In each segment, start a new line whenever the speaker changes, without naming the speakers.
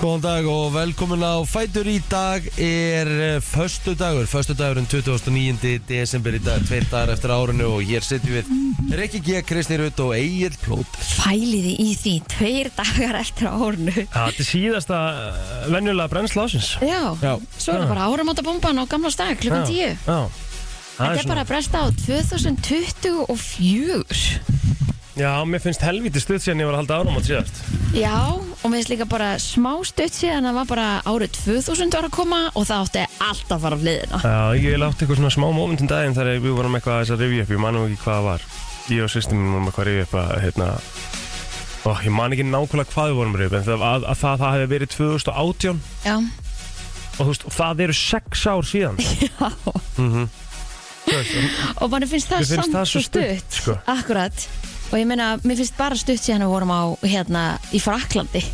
Góðan dag og velkomin á Fætur í dag er eh, Föstu dagur, föstu dagurinn 29. desember í dag Tveir dagar eftir árinu og hér sittum við Rikki G, Kristi Rutt og Egil Plóter
Pæliði í því tveir dagar eftir árnu
Ja, Þetta er síðasta eh, venjulega brennsla ásins
Já,
Já.
svo er það bara áramóta bomban á gamla stað klukkan 10
Já Það
Þetta er bara að bresta á 2024
Já, mér finnst helvítið stutt síðan ég var að halda árum átt síðast
Já, og mér finnst líka bara smá stutt síðan að það var bara árið 2000 var að koma og það átti allt að fara af liðina
Já, ég látti eitthvað svona smá mómentum daginn þegar við vorum eitthvað aðeins að rifja upp, ég man nú ekki hvað það var Ég og sýstum minn vorum eitthvað að rifja upp að, hérna Ó, ég man ekki nákvæmlega hvað við vorum að rifja upp en það, að, að það, það hefði verið 2018
Já,
og þú veist, og það eru sex ár síðan Mhm.
og mann finnst það
Mér finnst
samt
það
svo
svo
stutt,
stutt, sko.
Akkurat, og ég meina, mér finnst bara stutt síðan að við vorum á, hérna, í Fraklandi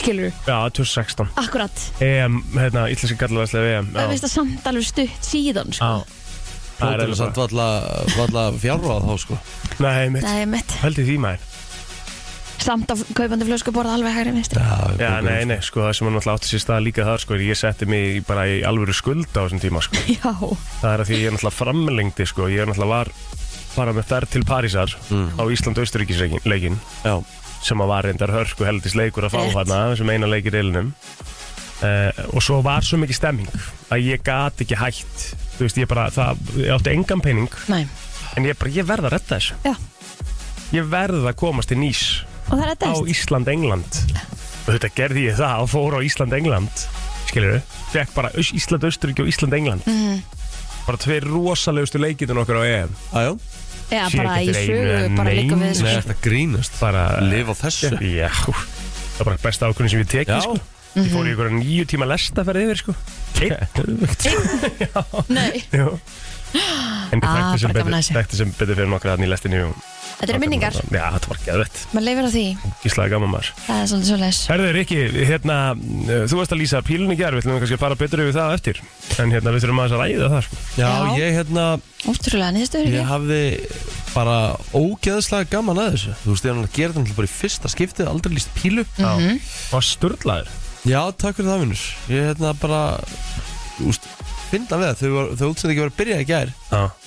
Skilur þú?
Já, 2016
Akkurat,
EM, hérna, Íslenski gallavæslega EM
það
já.
finnst það samt alveg stutt síðan, sko
Já. Það er
Plóter
alveg
er samt valla, valla fjárráð þá sko
Nei, mitt,
Nei, mitt,
held í því maður
samt af kaupandi flöskuborða alveg hægri minnstri
Já,
Já, nei, nei, sko, það sem hann alltaf átti sér stað líka þar, sko, er ég setti mig í- bara í alvöru skuld á þessum tíma, sko.
Já,
Það er að því ég er náttúrulega framlengdi, sko, ég er náttúrulega var bara með þær til Parísar á Ísland-Austuríkisleikin,
Já,
sem að var reyndar hörku heldis leikur að fá
Rétt.
þarna, þessum eina leikir eilinum. Uh, og svo var svo mikið stemming að ég gat ekki hætt, þú veist, ég bara, það, ég átti engan pening,
næ,
en ég bara, ég verð að redda þessu.
já
Ég verð að komast til Nýs
Og það er
á
þetta
Ísland-England og þetta gerði ég það og fór á Ísland-England skilur við, fekk bara Ísland-Austuríki og Ísland-England
Mhm.
bara tveir rosalegustu leikinu okkar á EM
aðjó,
Já,
sé
bara
ekki
í
eftir
sögu,
einu,
bara líka
neinu.
nei,
við sko.
þetta grínast
bara,
Lifa á þessu
já, það var bara besta ákvörðin sem ég
Já.
tekið sko. ég
Mhm.
fór í ykkur nýju tíma lesta ferði yfir sko
Nei,
Jú. en ég
Ah,
þekkti sem,
bara gaman
betur-
að þessu.
þekkti sem betur fyrir nokkra þannig í lestinu já,
þetta eru minningar
þetta var geðvett,
Maður leifir á því,
gíslaði gaman maður
það er svolítið svolítið
Herðu Rikki, hérna, uh, þú varst að lýsa pílun í gerð, við ætlum kannski að fara betur yfir það á eftir En hérna, við þurfum aðeins að ræða það sko.
Já,
Já.
ég hérna,
Ótrúlega niðurstöður
ég
ekki?
hafði bara ógeðslega gaman að þessu Þú veist, ég hann að gera þetta bara í fyrsta skiptið, aldrei líst pílu
Já, Og sturlaður
Já, takk fyrir það vinnur Ég hérna bara, þú veist, finna við það Þau, var- þau útsendingi var að byrja í gær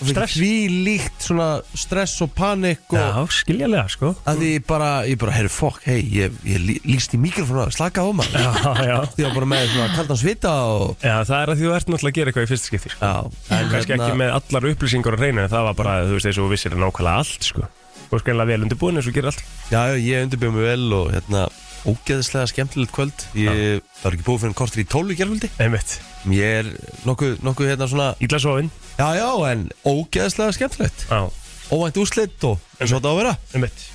Stress
Því líkt svona stress og panik og
Já, skiljalega sko
að ég bara, ég bara, heyrðu fokk, hei, ég, ég lí- líst í mikrofónu að slaka á maður
Já, já
Ég var bara með svona kaldan svita og
Já, það er að því þú ert náttúrulega að gera eitthvað í fyrsta skipti sko.
Já, en hérna,
Kannski ekki með allar upplýsingar að reyna En það var bara, þú veist, eins og þú vissir nákvæmlega allt sko. Og skiljalega vel undirbúin eins og þú gerir allt
Já, já, ég undirbjöð mig vel og hérna, ógeðislega skemmtilegt kvöld Ég var ekki búið fyrir en kortir í tólu í gerfaldi
Einmitt,
Ég er nokkuð, nokkuð hérna svona,
ítla sofin
já, já, en ógeðislega skemmtilegt
Já,
Óvænt úrslit og eins og þetta á að vera
einmitt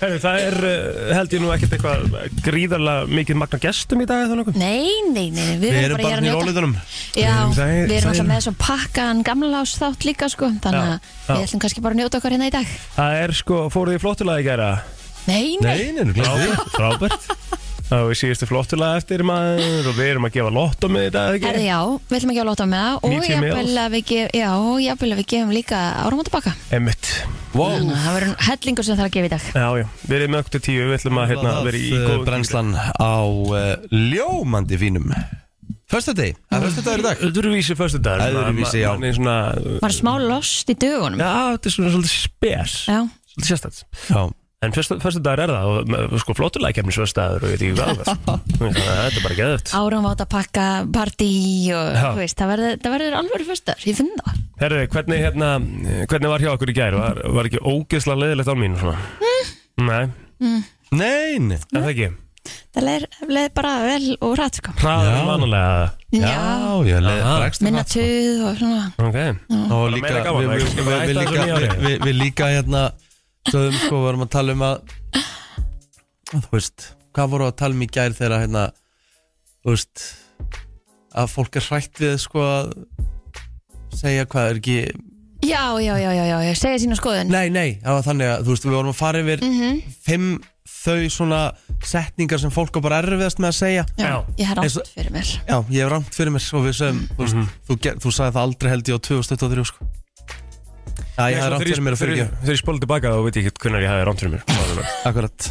Herðu, það er, uh, held ég nú ekkert eitthvað gríðarlega mikið magna gestum í dag eða nokkuð
Nei, nei, nei, nei, við
Við
erum
erum
bara
bara nýr
í að njóta
ólitunum
Já,
Við erum það-
við erum
það-
alltaf með svo pakkaðan gamlalás þátt líka sko Þannig að
Já, já.
við ætlum kannski bara að njóta okkar hérna í dag
Það er sko, fóruð í flottulega í gæra
Nei, nei,
Nei, neina, glæði því
Frábært Frábært Það var síðustu flottulega eftir maður og við erum að gefa lott á með þetta eða
herði
ekki?
já, við ætlum ekki að láta með það Og
90 mils.
jafnvel að við gefum, já, og jafnvel að við gefum líka áramóta baka
Emmitt
Wow,
Það verður hellingur sem það er að gefa í dag
Já, já, við erum með okkur til tíu, við ætlum að hérna, vera í
góð
góð
brennslan á uh, ljómandi fínum Föstudegi, það er föstudagur í dag
Öðruvísi fyrstu dag
Öðruvísi, já.
er svona
Var smá lost í dögunum
Já, þetta er svona svolítið spes
Já,
Svolítið sérstætt
Já,
En fyrstu, fyrstu dagur er það og m- sko flottulega kemur fyrstu dagur og ég veit ekki hvað það, sko. Þannig að Þetta er bara geðut
áramóta pakka, partí og
Já.
þú veist, það verður, það verður alveg fyrstar, ég finn það
Herru, hvernig, hérna, hvernig var hjá okkur í gær? Var, var ekki ógeðslega leiðilegt á mínu svona? Nei,
nein
er það ekki?
Það leið, leið bara vel og rætt sko
Hraðar
Já.
en vanalega
Já, já, leið
Aha.
bregst
minna tuð og svona
Ok,
Og
Bara
líka,
meira gaman,
við, við,
ekki? Skal
við,
bara
við,
hætta
líka,
þessu nýja
við,
ári?
við, við líka hérna Sögðum sko, við varum að tala um að Þú veist, hvað voru að tala um í gær þegar að, hérna Þú veist Að fólk er hrætt við sko að Segja hvað er ekki
Já, já, já, já, já, já, segja sína skoðun Mm. Mhm.
Nei, nei, það var þannig að þú veist, við vorum að fara yfir fimm þau svona setningar sem fólk á bara erfiðast með að segja
Já.
Ég hef
Eins og-
rátt fyrir mér
Já, ég hef rangt fyrir mér og við sem, þú, veist, þú, ger, þú sagði það aldrei held ég á 2023 sko. Já, ég hef rangt fyrir mér og fyrir ekki
Þegar ég spóla tilbaka þá veit ég ekkert hvernig ég hafi rámt fyrir mér Svo alveg.
Akkurat,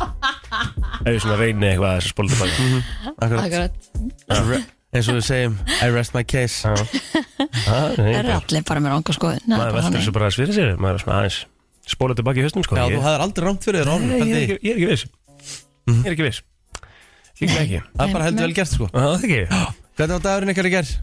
Ef ég svona reyni eitthvað að þess að spóla tilbaka
Mhm. akkurat
Akkurat
Eins og við segjum, I rest my case
Það
Það er allir bara með ánga skoðun Það er
Maður
bara
veldur
þannig.
þessu bara að svýra sér Maður er svona aðeins Spóla tilbaka í höstum sko
Já,
Ég-
þú hefðir aldrei rangt fyrir þér orðin
Nei, ég er
Það
ekki- ég er ekki viss
Mhm.
Ég er ekki viss Líklega ekki
er bara heldur vel gert sko
Það er ekki
Hvernig var dagurinn ykkar í gerð?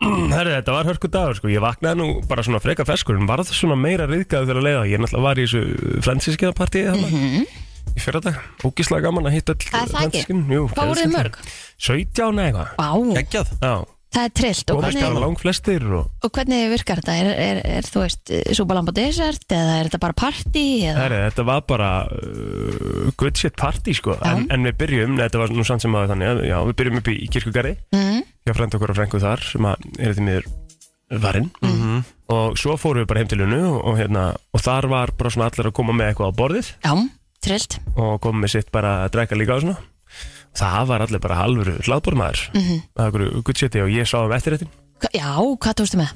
Herri, þetta var hörku dagur sko, ég vaknaði nú bara svona freka feskur en var það svona meira riðgæðu þegar að leiða ég náttúrulega var í þessu frænsiskiðapartíi mm -hmm.
Mhm.
í fyrra dag, ógíslega gaman að hitta
Það er það ekki. Hvað voruð þið mörg?
17 eða eitthvað
Vá,
Geggjað
Já,
það er trillt og
komast
hvernig,
bara lang flestir og
og hvernig virkar þetta? Er, er, er þú veist, súbalamba desert eða er þetta bara party? Eða?
herri, þetta var bara uh, good shit party sko
Já.
en, en við byrjum, þetta var nú samt sem að þannig að- já, við byrjum upp í, í kirkugarði
Mm,
ég frændi okkur og frængu þar sem að er þetta miður varinn -hmm. og svo fórum við bara heim til hennu og, og, hérna, og þar var bara svona allir að koma með eitthvað á borðið
já, trillt
og kom með sitt bara að drekka líka og svona það var allir bara halvuru hlaðbormaður mm -hmm. það var okkur guttsiti og ég sá um eftir þetta
Hva- Já, hvað tókstu með?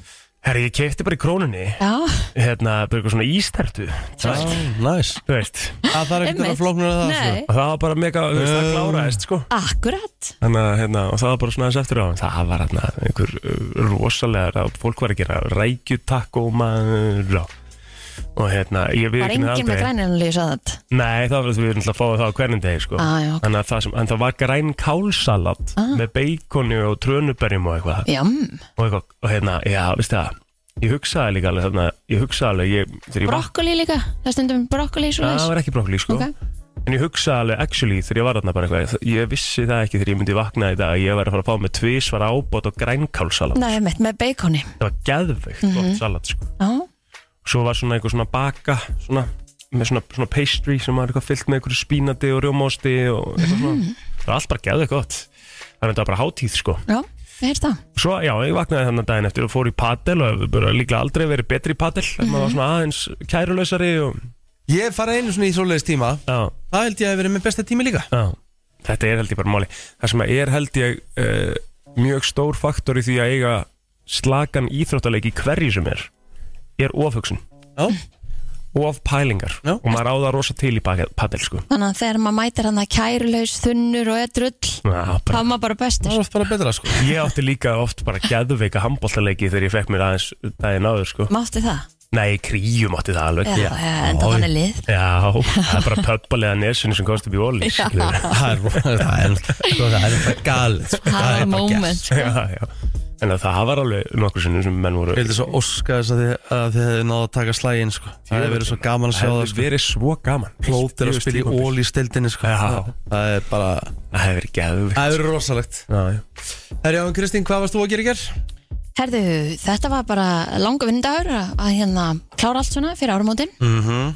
herri ég kefti bara í krónunni
Já,
hérna bara eitthvað svona ístertu
Já,
það,
Næs
þú veist
Það þarf ekkert að vera
Einmitt.
flóknur að það sko.
nei,
og það var bara mega þú veist, það
Um.
kláraðist sko
akkurat
Þannig að, hérna, og það var bara svona aðeins eftir á það var hérna einhver uh, rosalega að fólk var að gera rækjutakko maður og, og hérna, ég við
Var enginn með grænilegu svo þetta
Nei, það var því við erum alltaf að fá það á hvernig degi sko.
ah, já, ok.
Þannig að það, sem, en það var græn kálsalat
Ah.
með beikoni og trönuberjum og eitthvað
Já, mm.
og, eitthvað, og hérna, já, veistu það Ég hugsaði líka alveg þarna, ég hugsaði alveg ég, þegar ég vaknaði-
brokkoli líka, það er stundum brokkoli svo
Já,
leis
það var ekki brokkoli sko
Ok.
En ég hugsaði alveg actually þegar ég var þarna bara eitthvað Ég vissi það ekki þegar ég myndi vakna í dag að Ég var að fara að fá með tvísvar ábót og grænkálsalat
Nei, mitt með beikoni
Það var geðveikt gott salat sko
Já,
Svo var svona einhver svona baka svona, með svona, svona pastry sem var eitthvað fyllt með einhverju spínati og rjómósti og eitthvað svona Það var allt bara geðveikt gott Það var þetta bara hátíð sko
já, við heyrst það
Svo, já, ég vaknaði þannig daginn eftir og fór í padel og hefur bara líklega aldrei verið betri í padel en maður var svona aðeins kærulausari og,
Ég hef farið einu svona í svoleiðis tíma
já,
Það held ég að hef verið með besta tími líka
Já, þetta er held ég bara máli Það sem er held ég uh, mjög stór faktor í því að eiga slakan íþróttaleik í hverju sem er er ofhugsun,
Já,
ofpælingar
Já.
og maður á það rosa til í padel sko.
Þannig að þegar maður mætir hann að kærulaus, þunnur og er drull
Já,
þá
bara,
er maður bara
það
bestur
var oft bara betra sko
Ég átti líka oft bara gæðuveika handbóltaleiki þegar ég fekk mér aðeins daginn áður sko.
Mátti það?
Nei, kríum átti það alveg
Já, já, enda
Oj.
þannig lið
Já, það er bara pöppalega nesinu sem komst upp í óli
Það er það er- það er bara galið sko. Það
Haha
er bara
moment
gert
sko.
En það var alveg nokkur sinnum sem menn voru
Ég held þess að óska þess að þið, að þið hefði náðu að taka slægin sko. Það hefði verið svo gaman að sjá það
hefði
sko.
verið svo gaman
Plótir að
Yfir
spila í
tímabil.
ól í stildinni sko.
Já.
Það það er bara
Það hefði verið geðvikt
Það hefur verið rosalegt Herjá, Kristín, hvað varst þú að gera í ger?
Herðu, þetta var bara langa vindagur að hérna klára allt svona fyrir árumótin
Mm -hmm.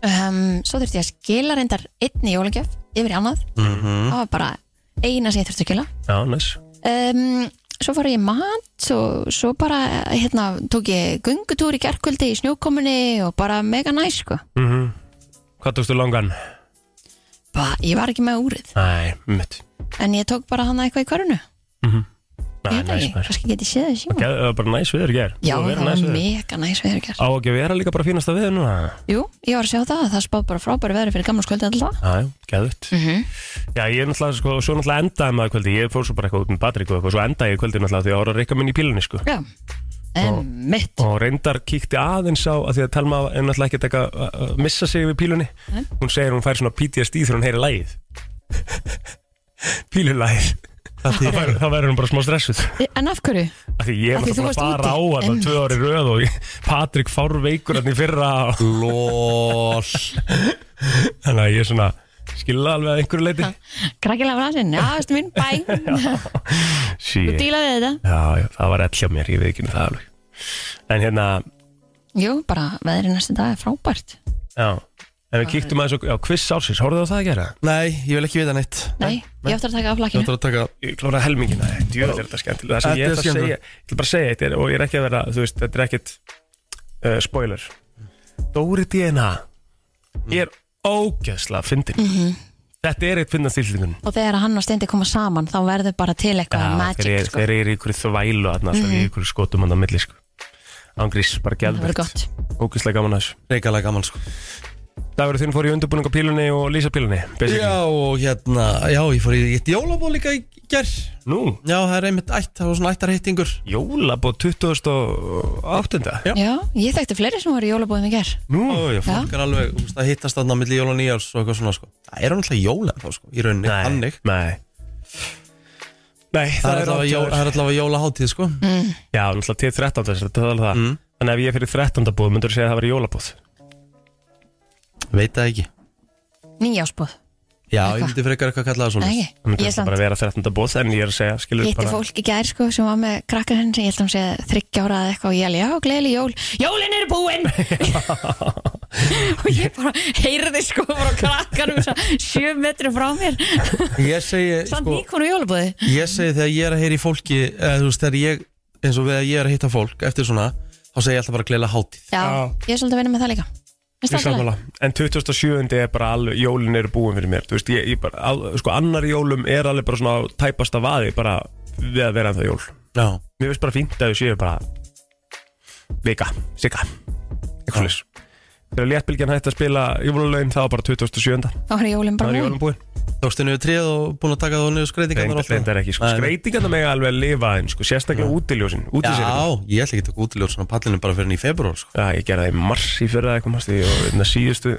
Mhm.
um, Svo þurfti ég að skila reyndar einni jólagjöf yfir í annað
Mhm.
Það var bara eina sem ég þurfti að skila
Já, næs
um, Svo fór ég í mat og svo bara hérna, tók ég gungutúr í gerkvöldi í snjókominni og bara mega næs sko.
Hvað tókstu langan?
Ba, ég var ekki með úrið
Æ, mitt
en ég tók bara hana eitthvað í körunu
Næ,
Ég veit
næs
ekki,
maður
kannski get ég séð þessi
Geð- Það var bara næs viður ger
Já,
Búið að
það
vera
var
næs veður.
mega næs veður gerð
Á ekki að vera líka bara fínasta við núna
Jú, ég var að sjá það, það spáð bara frábæri veðri fyrir gamlarskvöldi alltaf
Já, geðvikt Mm. Já, ég er náttúrulega, sko, svo náttúrulega endaði maður kvöldi Ég fór svo bara eitthvað út með Patrik og eitthvað Svo endaði ég kvöldi náttúrulega því að ára reyka minn í pílunni, sko
Já, en
Og-
mitt
og reyndar kíkti aðeins á að því að Telma er náttúrulega ekkert eitthvað að- að missa sig við pílunni
Nei.
hún segir hún fær svona PTSD þegar hún heyri lægið pílulægið þá væri- þá verður hún bara smá stressuð
En af hverju?
af því ég
Af
var
því þú
bara að
varst
fara á
úti.
hann
Einmitt.
tvö ári röð og ég- Patrik fár veikur hann í fyrra og-
Lól
þannig að ég svona skilða alveg að einhverju leiti
Krakkilega frasinn, já, veistu mín, bæ Þú
sí,
dílaði þetta
já, já, það var ell hjá mér, ég veit ekki um það alveg en hérna,
Jú, bara veðri næstu dag er frábært
já en við kíktum aðeins á- á quiz ársins, horfðu á það að gera?
Nei, ég vil ekki vita neitt
Nei, ég ætti að taka af
Ég
lakinu
ætla að taka
ég klára helmingina djöðlega er þetta skemmtilega það sem ég
Þetta er
ætla að segja,
skemmtilegt.
ég ætla bara að segja eitt er, og ég er ekki að vera, þú veist, þetta er ekkit uh, spoiler
Mm-hmm.
Mm-hmm.
Dóri DNA er ógeðslega fyndin Þetta er eitt finnast íslendingun
og þegar hann og Steindi koma saman þá verður bara til eitthvað magic sko.
þeir,
Mm-hmm.
þeir eru í ykkur þvælu þarna, alltaf í ykkur skotum hann á milli sko. Ángrís, bara
það verður
gælbært
gott
Ógislega gaman að þessu
Reykjalega gaman sko
Dagur þinn fór í undirbúning á pílunni og lýsa pílunni
Já og hérna, já ég fór í eitt jólaból líka í gerð
Nú,
Já það er einmitt ætt, það var svona ættarheitingur
jólabó 2008
Já.
Já, ég þekkti fleiri sem voru í jólabóðum í ger
Nú,
Ó, já, fólk er alveg, þú veist, að hittast þarna á milli jól og nýjárs og eitthvað svona sko Það er náttúrulega jól en þá sko, í rauninni, hannig
Nei Nei,
Það er allavega jól- það er allavega jólaháttíð sko
Já, náttúrulega til 13. þess að um það er alveg
Mm.
það Þannig ef ég er fyrir 13. búð, myndur þú segja að það var jólabúð
Veit það ekki
Nýjásbóð,
Já,
Eitthvað.
ég myndi frekar eitthvað kalla það svona
ekki
Það
Ég
myndur þetta
samt
bara vera 13. búð En ég er að segja, skilur
hitti
bara
fólk í gær sko sem var með krakkar henn sem ég held að hann sé þryggja ára eða eitthvað og ég alveg, já, gleðileg jól Jólin eru búin og ég bara heyrði sko frá krakkarum svo sjö metri frá mér
Ég segi,
samt
sko,
nýkonu jólabóði
ég segi þegar ég er að heyra í fólki eða, þú veist, þegar ég, eins og við að ég er að hitta fólk eftir svona, þá segi ég alltaf bara gleila hátíð
Já,
Já.
ég er svolítið að vinna með það líka Finnst
Ég
það alveg?
sammála. En 27. er bara alveg, jólin eru búin fyrir mér Þú veist, ég, ég bara, al, sko, annar jólum er alveg bara svona á tæpasta vaði bara við að vera en það jól
Já,
Mér finnst bara fínt að þau séu bara vika, sika eitthvað leys Þegar léttbylgjan hætti að spila jólulögin það var bara 27.
Þá er jólin
Það
bara
er
búin
jólum búin
tókstu niður tríð og búin að taka þá niður skreitingarnar og allt það.
Reyndar ekki, sko.
Nei, nei.
skreitingarna mega alveg að lifa einn, sko. sérstaklega útiljósin útisýringar.
Já, ég ætla ekki að taka útiljós svona pallinu bara fyrir enn í februar sko.
Já, ég gerði það í mars í fyrra eitthvað mást ég og einna síðustu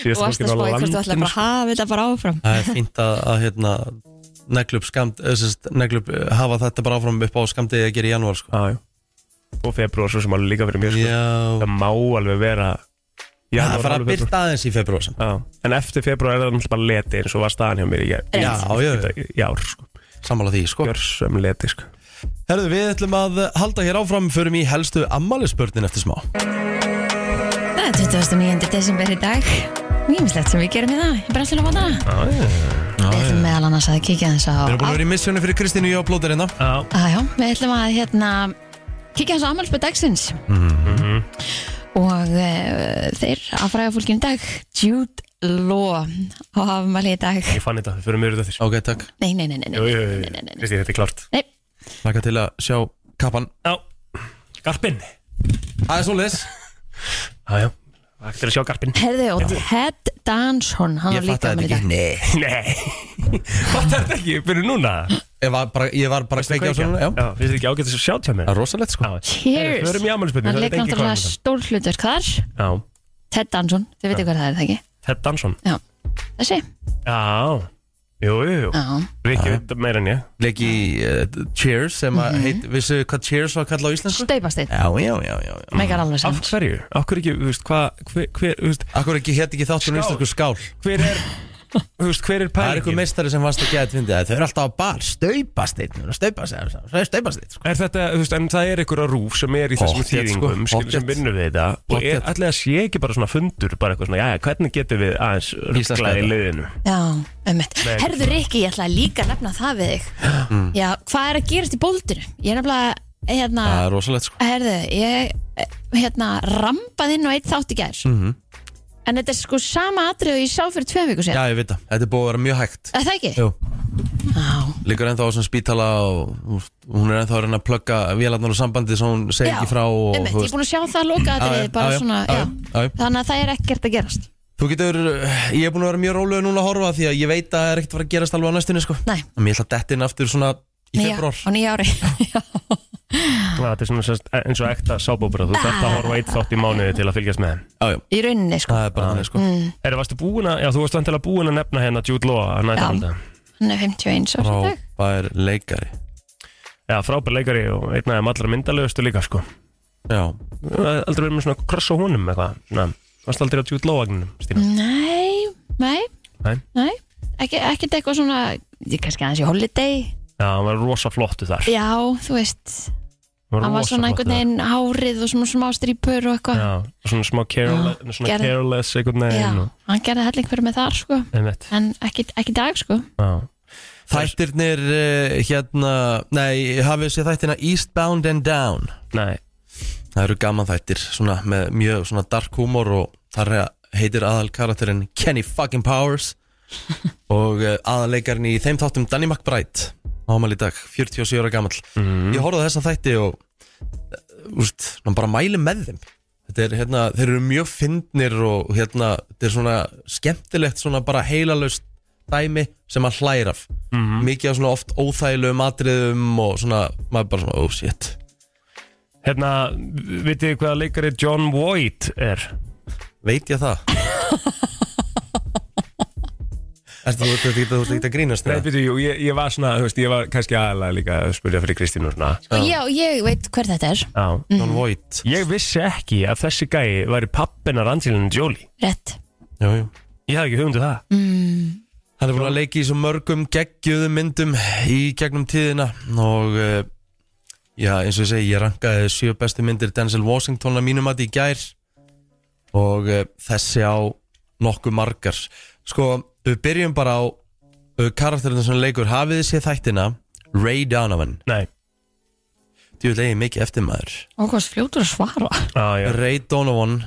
Þú
síðustu
varst að
helgin á
spóið hvort þú ætlaði
landinu,
bara að
sko.
hafa þetta bara áfram
Það er fínt að, að hérna, neglup skamt eh, sest, neglup, hafa þetta bara áfram upp á skamtið að gera í janúar sko.
sko. Já, já. og februar svo sem alveg líka fyrir mér sko.
Já,
það má alveg vera já,
það fara að
februar
byrta aðeins í februar samt.
já. en eftir februar er það náttúrulega bara leti eins og var staðan hjá mér í gær-
Já, já, já.
í- í ár sko.
sammála því sko.
gjörsum leti sko.
Herðu, við ætlum að halda hér áfram förum í helstu ammælisbörnin eftir smá
Það er 29. desember í dag Nýmislegt sem við gerum hérna í það Ég bara ætla að vanda það Við ætlum meðal annars að kíkja þess
Við erum búin
á
að vera í missjónu fyrir Kristínu Jó Plóter hérna
já,
Ah, já, við ætlum að hérna, kíkja hans á ammálspöð dagsins
Mhm.
og uh, þeir að fræða fólkinu í dag Jude Law á afmæli í dag
ég fann þetta, við fyrir mér út af því
Ok, takk
Nei, nei, nei, nei, nei,
Jú, jú,
nei,
jú,
nei, nei, nei.
Kristín, þetta er klart
nei.
Laka til að sjá kappan
Já, garpinn
Það er svoleiðis
Já, já, það er til að sjá garpinn
Herðu, og Ted Danson hann
Ég
var líka
fattaði
afmæli í
þetta
dag
ekki Nei
Nei, hvað er þetta ekki, byrju núna
Ég var bara, ég var bara að kveikja á svona Já,
já finnst þetta ekki ágætt að sjá tjá mér
það er rosalegt sko
Við
Cheers,
erum í afmælisbyrni,
hann
það
leik
er ekki
náttúrulega
hvað
stór hlutur þar
Já,
Ted Danson, þið veitir hvað það er, það ekki?
Ted Danson
Já, þessi
Já, jú, jú,
Ah.
jú
Já,
Rikki, þetta meira en ég
Leiki uh, Cheers sem að heit Vissu hvað Cheers var kallað á íslensku?
staupastinn,
Já, já, já, já, já.
megar alveg
Af
samt
hverju, af hverju ekki, þú veist, hvað, hver, hver, þú veist,
Akkur ekki hétt ekki þáttur á
Skál.
íslensku skál
hver er, þú veist,
Það er
hver er
einhver
pælingin?
meistari sem varst að geða þetta fyndið Þau eru alltaf á bar, staupasteytn Staupasteytn, sko
Er þetta, þú veist, en það er einhverja rúf sem er í þessum
Pottþétt, sko,
þýðingum, skilur sem
pottþétt.
vinnur við þetta og er
Pottþétt.
allega sé ekki bara svona fundur, bara eitthvað svona, jæja, hvernig getum við aðeins
Íslenska
ruggla í
þetta.
liðinu?
Já, ummitt.
Nei.
Herður Rikki, ég ætla líka að nefna það við þig.
Mm.
Já, hvað er að gerast í bóldinu? Ég er nefnilega, hérna,
Það er rosalegt sko
herðu, ég, eh, hérna, rampað inn á eitt þátt í gær.
Mhm.
En þetta er sko sama atrið og ég sá fyrir tveim viku sér.
Já, ég veit það Þetta er búið að vera mjög hægt
Er það ekki?
Jú
Já.
Liggur ennþá á svona spítala og úst, hún er ennþá að reyna að plugga vélarnar og sambandi sem hún segir
Já,
ekki frá og, þú
Einmitt, ég er
veist.
búin að sjá það loka
Já, já,
atrið bara
já, já,
svona, já.
já, já, já.
Þannig að það er ekkert að gerast.
Þú getur, ég er búin að vera mjög rólega núna að horfa því að ég veit að það er ekkert að fara að gerast alveg á næstunni sko
Nei,
En ég ætla að detta inn aftur svona í
nýja,
februar
á nýja ári. já,
Já, Þetta er svona sem sagt eins og ekta sábóbara, þú þarft að horfa eitt þátt í mánuði til að fylgjast með þeim.
Já, já,
í rauninni, sko.
það er bara þannig sko
Er, varstu búin að, já, þú varst vantilega búin að nefna hérna Jude Law, hann
Já.
ætti að
Hann er 51 árs í dag.
Frábær leikari
Já, frábær leikari og einn af þeim allra myndalugustu líka, sko.
Já,
Þú hefði aldrei verið með svona kross á honum eitthvað svona, varst aldrei á djútt lóagninu
Mm.
Stína
Nei, nei,
Nei.
nei. Ekki, ekkert eitthvað svona, ég kannski aðeins í holiday.
já, hann var rosa flottu þar
Já, þú veist
hann
Hann var
rosa
svona einhvern
flottur
veginn hárið og svona smá strýpur og
þar.
eitthvað
já, svona smá careless, svona
gerði-
careless einhvern
Já,
veginn og,
hann gerði helling fyrir með þar sko
einmitt,
En ekki, ekki í dag sko
já.
þættirnir uh, hérna, nei, hafið sér þættina Eastbound and Down
Nei,
Það eru gaman þættir, svona með mjög svona dark humor og þar heitir aðal karakterinn Kenny fucking Powers og uh, aðaleikarinn í þeim þáttum Danny McBride ámæli í dag, 47 ára gamall ég horfði á þessa þætti og uh, úst, ná, bara mæli með þeim þetta er, hérna, þeir eru mjög fyndnir og hérna, þetta er svona skemmtilegt svona bara heilalaust dæmi sem maður hlægir af mikið af svona oft óþægilegum atriðum og svona, maður bara svona, oh shit
Hérna, vitið þið hvaða leikari John Voight er?
veit ég það Ertu þú þú ert ekki- þú ert ekki að grínast
Nei,
eða?
byrju, jú, ég, ég var svona, þú veist, ég var kannski aðalega líka að spyrja fyrir Kristínu og svona
Sko, Já, ég veit hver þetta er
Já
John Voight
Ég vissi ekki að þessi gæi væri pappina Rangelin Jolie
Rétt
Jú, jú.
Ég hafði ekki hugmyndu það
Mm.
Hann er búin að leika í svo mörgum geggjöðum myndum í gegnum tíðina og uh, já, eins og ég segi, ég rankaði sjö bestu myndir Denzel Washington að mínum að í gær og uh, þessi á nokkuð margar Sko, við byrjum bara á uh, karakterinu sem leikur hafiði sér þættina Ray Donovan
Nei,
Þú leiði mikið eftir maður
Og hvað fljótur að svara
á, já
Ray Donovan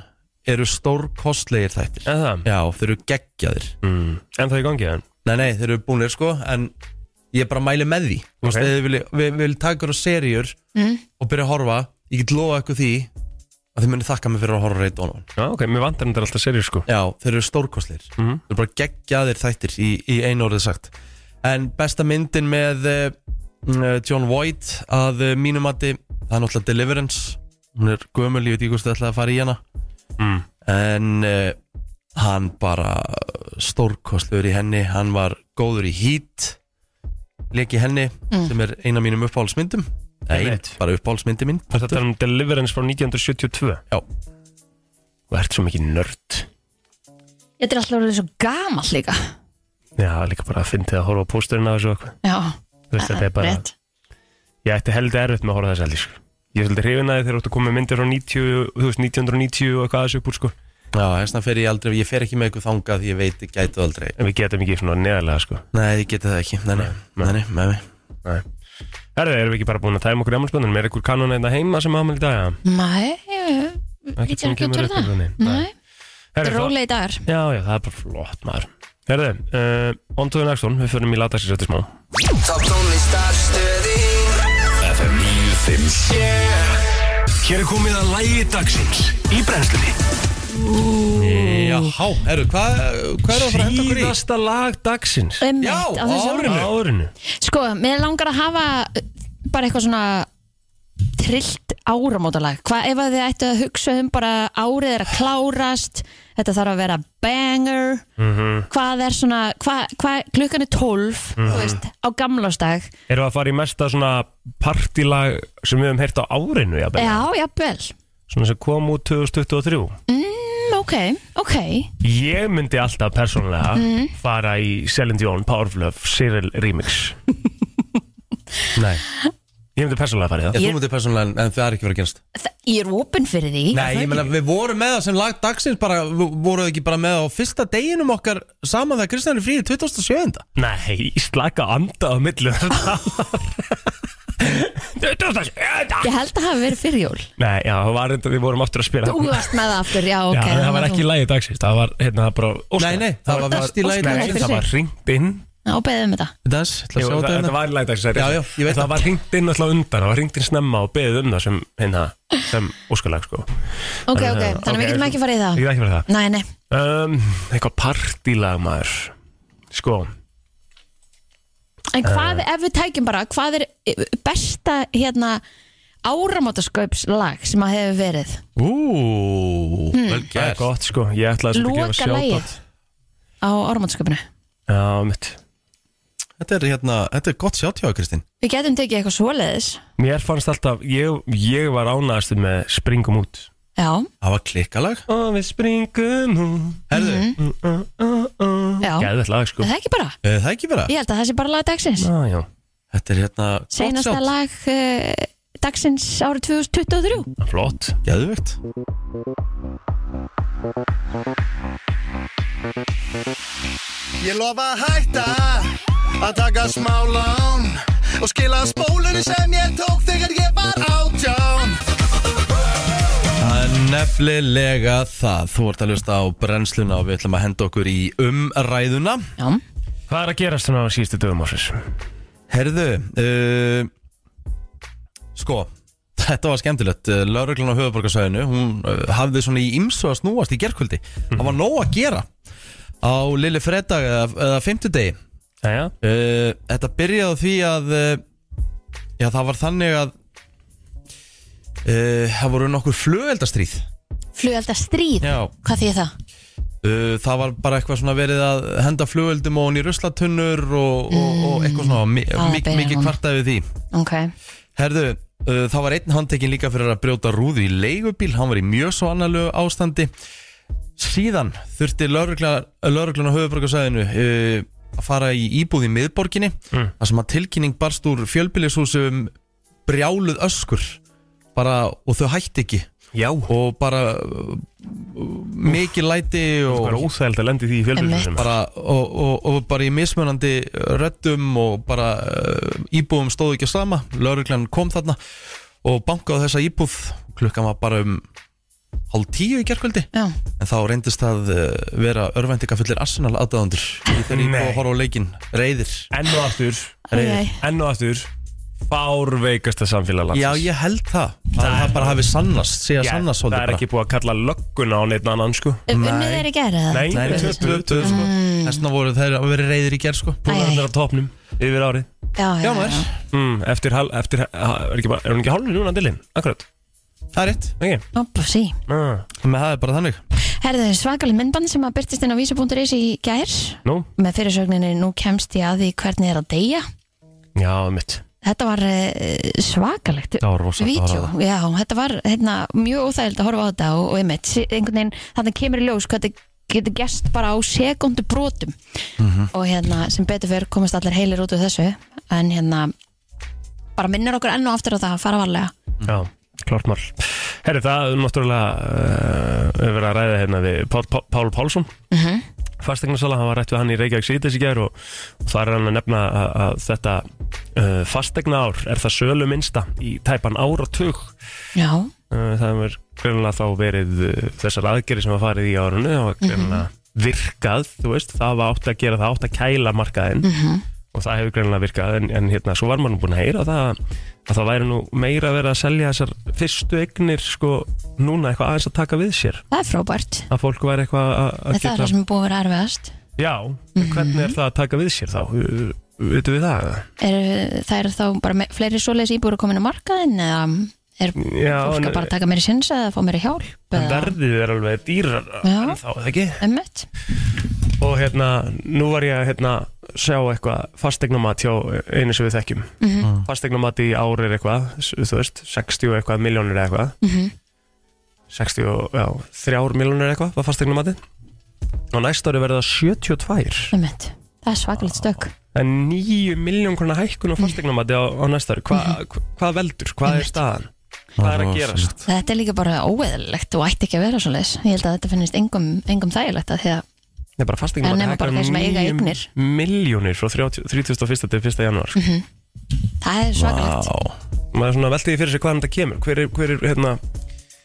eru stór kostlegir þættir
En það,
Já, þeir eru geggjaðir
mm. en það í gangi þann
Nei, nei, þeir eru búinir sko En ég bara mæli með því Þú veist,
Ok.
okay. Við viljum vil, vil taka ykkur á seríur mm. Og byrja að horfa Ég get lofa ykkur því Að þið muni þakka mig fyrir að horfa á Ray Donovan
Já, ok, mér vantar þetta alltaf serið sko
Já, þeir eru stórkostlir
Mhm.
Þeir eru bara geggjaðir þættir í, í einu orðið sagt En besta myndin með uh, John Voight Að uh, mínum mati Það er náttúrulega Deliverance Hún er gömul, ég veit ekki hvort þið ætlaði að fara í hana
mm.
en uh, hann bara stórkostluður í henni hann var góður í hít leki henni sem er eina mínum uppáhaldsmyndum Nei,
Einmitt.
bara uppáhaldsmyndi mín
Þetta er um Deliverance frá 1972
Já.
Þú ert svo mikið nörd
Þetta er alltaf orðið svo gamall líka
Já, líka bara að fyndi að horfa á pósturinn af þessu og eitthvað
Já,
Þú veist, þetta er bara
rétt
Ég ætti heldur erfitt með að horfa á þessu heldur sko Ég er svolítið hrifin að þið þegar þú áttu að koma með myndir frá 90, þú veist, 1990 og eitthvað þessu upp úr sko
Já, þessna fer ég aldrei, ég fer ekki með ykkur þangað því ég veit ég gætu aldrei
En við getum ekki svona neðalega sko
Nei, ég geti það ekki, nei, nei, nei, nei, nei, nei.
Nei. Herðu, erum við ekki bara búin að tæma okkur emmalspöndunum? Er ykkur kanon einna heima sem aðmæli daga?
Nei, ég- ég
Ekkert
er
sem
ekki að
kemur
tjóra
upp
það
úr henni.
Nei, þetta er
Herðu, það-
rólegi dagar
Já, já, það er bara flott maður. Herðu, uh, on to the next one, við förum í latagsins eftir smá.
Top tónlistarstöði
FM 957 Hér er komið að lægi dagsins í brennslunni
Jáhá, herru, hvað hva er það að fara að henda okkur í?
Síðasta lag dagsins.
Einmitt,
Já,
á þessu
árinu.
ári.
Á Árinu.
Sko, mér langar að hafa uh, bara eitthvað svona trillt áramótalag hvað ef að þið ættu að hugsa um bara árið er að klárast þetta þarf að vera banger
Mhm.
hvað er svona hvað, hvað, klukkan er 12 þú veist, á gamlástag
Erum við að fara í mesta svona partilag sem við hefum heyrt á árinu, já,
já, jafnvel,
Svona sem kom út 2023.
mm, ok, ok
Ég myndi alltaf persónulega
Mhm.
fara í Celine Dion, Powerful Love, Cyril Remix.
Nei,
Ég myndi persónulega fara í það.
ég, þú
Ég-
mútið persónulega, en það er ekki verið að genast
Þa, ég er opinn fyrir því
Nei, ég meina, við vorum með það sem lag dagsins bara, voruð ekki bara með á fyrsta deginum okkar saman þegar Kristján er fríði 2007.
Nei, slaka anda á um millu
ég held að hafa verið fyrir jól
Nei, já, það var reynda, við vorum aftur að spila
þú varst með það aftur, já, ok
Já, það var ekki lægi dagsins, það var hérna bara óskar.
Nei, nei, það var verst í lagi
Óskar.
dagsins
fyrir
Það var
sig.
ringt inn
á beðum um þetta
Dans, ætla að
Jú,
sjá
það,
þetta
Þetta
hérna
var í lagi dagsins það er
Já,
rétt.
já, ég veit
En Það
það.
var ringt inn alltaf undan, það var ringt inn snemma og beðið um það sem, hérna, sem óskalag sko
ok, ok,
Já,
þannig
ok,
við getum
sko.
ekki farið í það
Ég veit ekki verið það
nei, nei,
um, Eitthvað partílag maður Sko,
En
Eh.
hvað, ef við tækjum bara, hvað er eh, besta hérna áramótaskaupslag sem að hefur verið?
Ú,
Mm.
vel
það er gott sko Ég ætlaði svolítið að gefa
Loka
sjátt
lagið á áramótaskaupinu.
Já, mitt
Þetta er hérna, þetta er gott sjátt hjá þér, Kristín
Við getum tekið eitthvað svoleiðis.
Mér fannst alltaf, ég, ég var ánægast með springum út
Já,
Það var klikkalag
Og við springum út
Herðu, mm
Mhm. já.
Gæðvett lag sko
Er það ekki bara?
það ekki bara
Ég held að það sé bara lag dagsins.
ah, Já,
Þetta er hérna gott
Seinasta
sjátt
lag uh, dagsins árið 2023.
flott
Geðvegt
Ég lofa að hætta að taka smá lán og skila spólunni sem ég tók þegar ég var átján
Það er Nefnilega það, þú ert að hlusta á brennsluna og við ætlum að henda okkur í umræðuna
Já,
Hvað er að gerast svona á síðustu dögum ásins?
Herðu, uh, sko, þetta var skemmtilegt Lauruglan á höfuborgarsæðinu, hún uh, hafði svona í ymsu að snúast í gerkvöldi Það var nóg að gera á lilli fredag eða, eða fimmtudegi
Jæja,
uh, Þetta byrjaði á því að uh, Já, það var þannig að uh, Það voru nokkur flugeldastríð
flugelda stríð
Já
Hvað því það?
Uh, það var bara eitthvað svona verið að henda flugöldum og hún í ruslatunnur og, og, og eitthvað svona mi-
það
mik-
byrjar
mikið
hún.
kvartaði við því
Ok,
Herðu, uh, það var einn handtekinn líka fyrir að brjóta rúðu í leigubíl hann var í mjög svo annarlegu ástandi síðan þurfti lauruglan á höfuborgarsæðinu uh, að fara í íbúð í miðborginni þar sem að tilkynning barst úr fjölbýlishúsum brjáluð öskur bara, og þau hætti ekki
já
og bara uh, mikið læti og
Það er óþægild að lendi því í fjölbyrjum
bara, og, og, og bara í mismunandi röddum og bara uh, íbúum stóðu ekki á sama lauruglan kom þarna og bankaði á þessa íbúð klukkan var bara um hálf tíu í gerkvöldi
já,
en þá reyndist það uh, vera örvendingafullir Arsenal aðdáðundur í þeirri íbúð
Nei.
að horfa á leikinn reyðir
Enn og aftur
Æ, æ.
Enn og aftur Fárveikasta samfélag
Já,
landsins
ég held það að það bara hafi sannast, sé að
Já,
sannast
Það
svolítið
er
bara.
ekki búið að kalla lögguna á neitt annan sko
unnið er Um, í gerð eða?
Nei,
Nei,
tvö- tvö- tvö, sko.
þessna Mm. voru þeir að vera reyðir í gerð sko
Æ,
Búið að
æ.
vera á topnum yfir árið
Já, já,
Já, maður.
já,
mm, Eftir, hal- eftir ha- er, ekki, bara- er hún ekki hálfur núna dilinn? Akkurat,
Það er rétt,
ekki?
Oppa, sí.
Ah.
með það er bara þannig
Herðu svakalig myndband sem að byrtist inn á vísu.is í gær
Nú?
með fyrirsögninni nú kemst ég að því hvernig er að deyja
Já, mitt
Þetta var uh, svakalegt
Það var rosa, það var
Vídeó, já, þetta var hérna, mjög óþægild að horfa á þetta og, og einmitt, sí- einhvern veginn, þannig kemur í ljós hvað þetta getur gest bara á sekundu brotum og hérna, sem betur fyrir komast allir heilir út úr þessu en hérna, bara minnir okkur enn og aftur á það að fara varlega
Já, klart mál Herri, það er náttúrulega uh, hefur verið að ræða hérna við Pál, Pál, Pál Pálsson mm
Mhm.
Fastegnarsala, hann var rætt við hann í Reykjavík síðdegis í gær og, og þar er hann að nefna að, að þetta uh, fastegna ár er það sölu minnsta í tæpan áratug
Já,
uh, það hefur greinlega þá verið uh, þessar aðgerið sem var farið í árunni það var greinlega virkað, þú veist það var átt að gera það, átt að kæla markaðinn og það hefur greinlega virkað en, en hérna, svo var mann búin að heyra það að það væri nú meira verið að selja þessar fyrstu eignir sko núna eitthvað aðeins að taka við sér
það er frábært
að fólk væri eitthvað að- að
en það er það sem Mhm. er búið að vera erfiðast
já, hvernig er það að taka við sér þá veitum við það eða?
er, það eru þá bara me- fleiri svoleiðis íbúru komin á markaðin eða er
já,
fólk
en,
að bara taka mér í sinns eða fá mér í hjálp
en
eða
verðið er alveg dýrar
Já.
en þá, eða ekki?
ömmett
og hérna, nú var ég að hérna, sjá eitthvað fastegnumat hjá einu sem við þekkjum mm
Mhm,
-hmm. fastegnumat í ár er eitthvað, s- þú veist 60 eitthvað, miljónir eða eitthvað
Mhm.
mm -hmm. 60, og- já, 3 miljónir eitthvað var fastegnumatið og næsta ári verða það 72
ömmett, það er svakalegt stökk
það er 9 miljón krona hækkun á fastegnumati á, á næsta ári, Hva,
Mhm.
hva, hvað veldur, hvað er staðan hvað er að gerast
Þetta er líka bara óeðalegt og ætti ekki að vera svoleiðis. Ég held að þetta finnist engum, engum þægilegt að því að,
Nei, bara
En
fastegnumati
nema bara þeir sem eiga eignir. Mhm.
miljónir frá 30 31. til 1. janúar sko.
það er svakalegt.
Á.
maður svona veldi því fyrir sig hvaðan þetta kemur hver er, hver er hérna,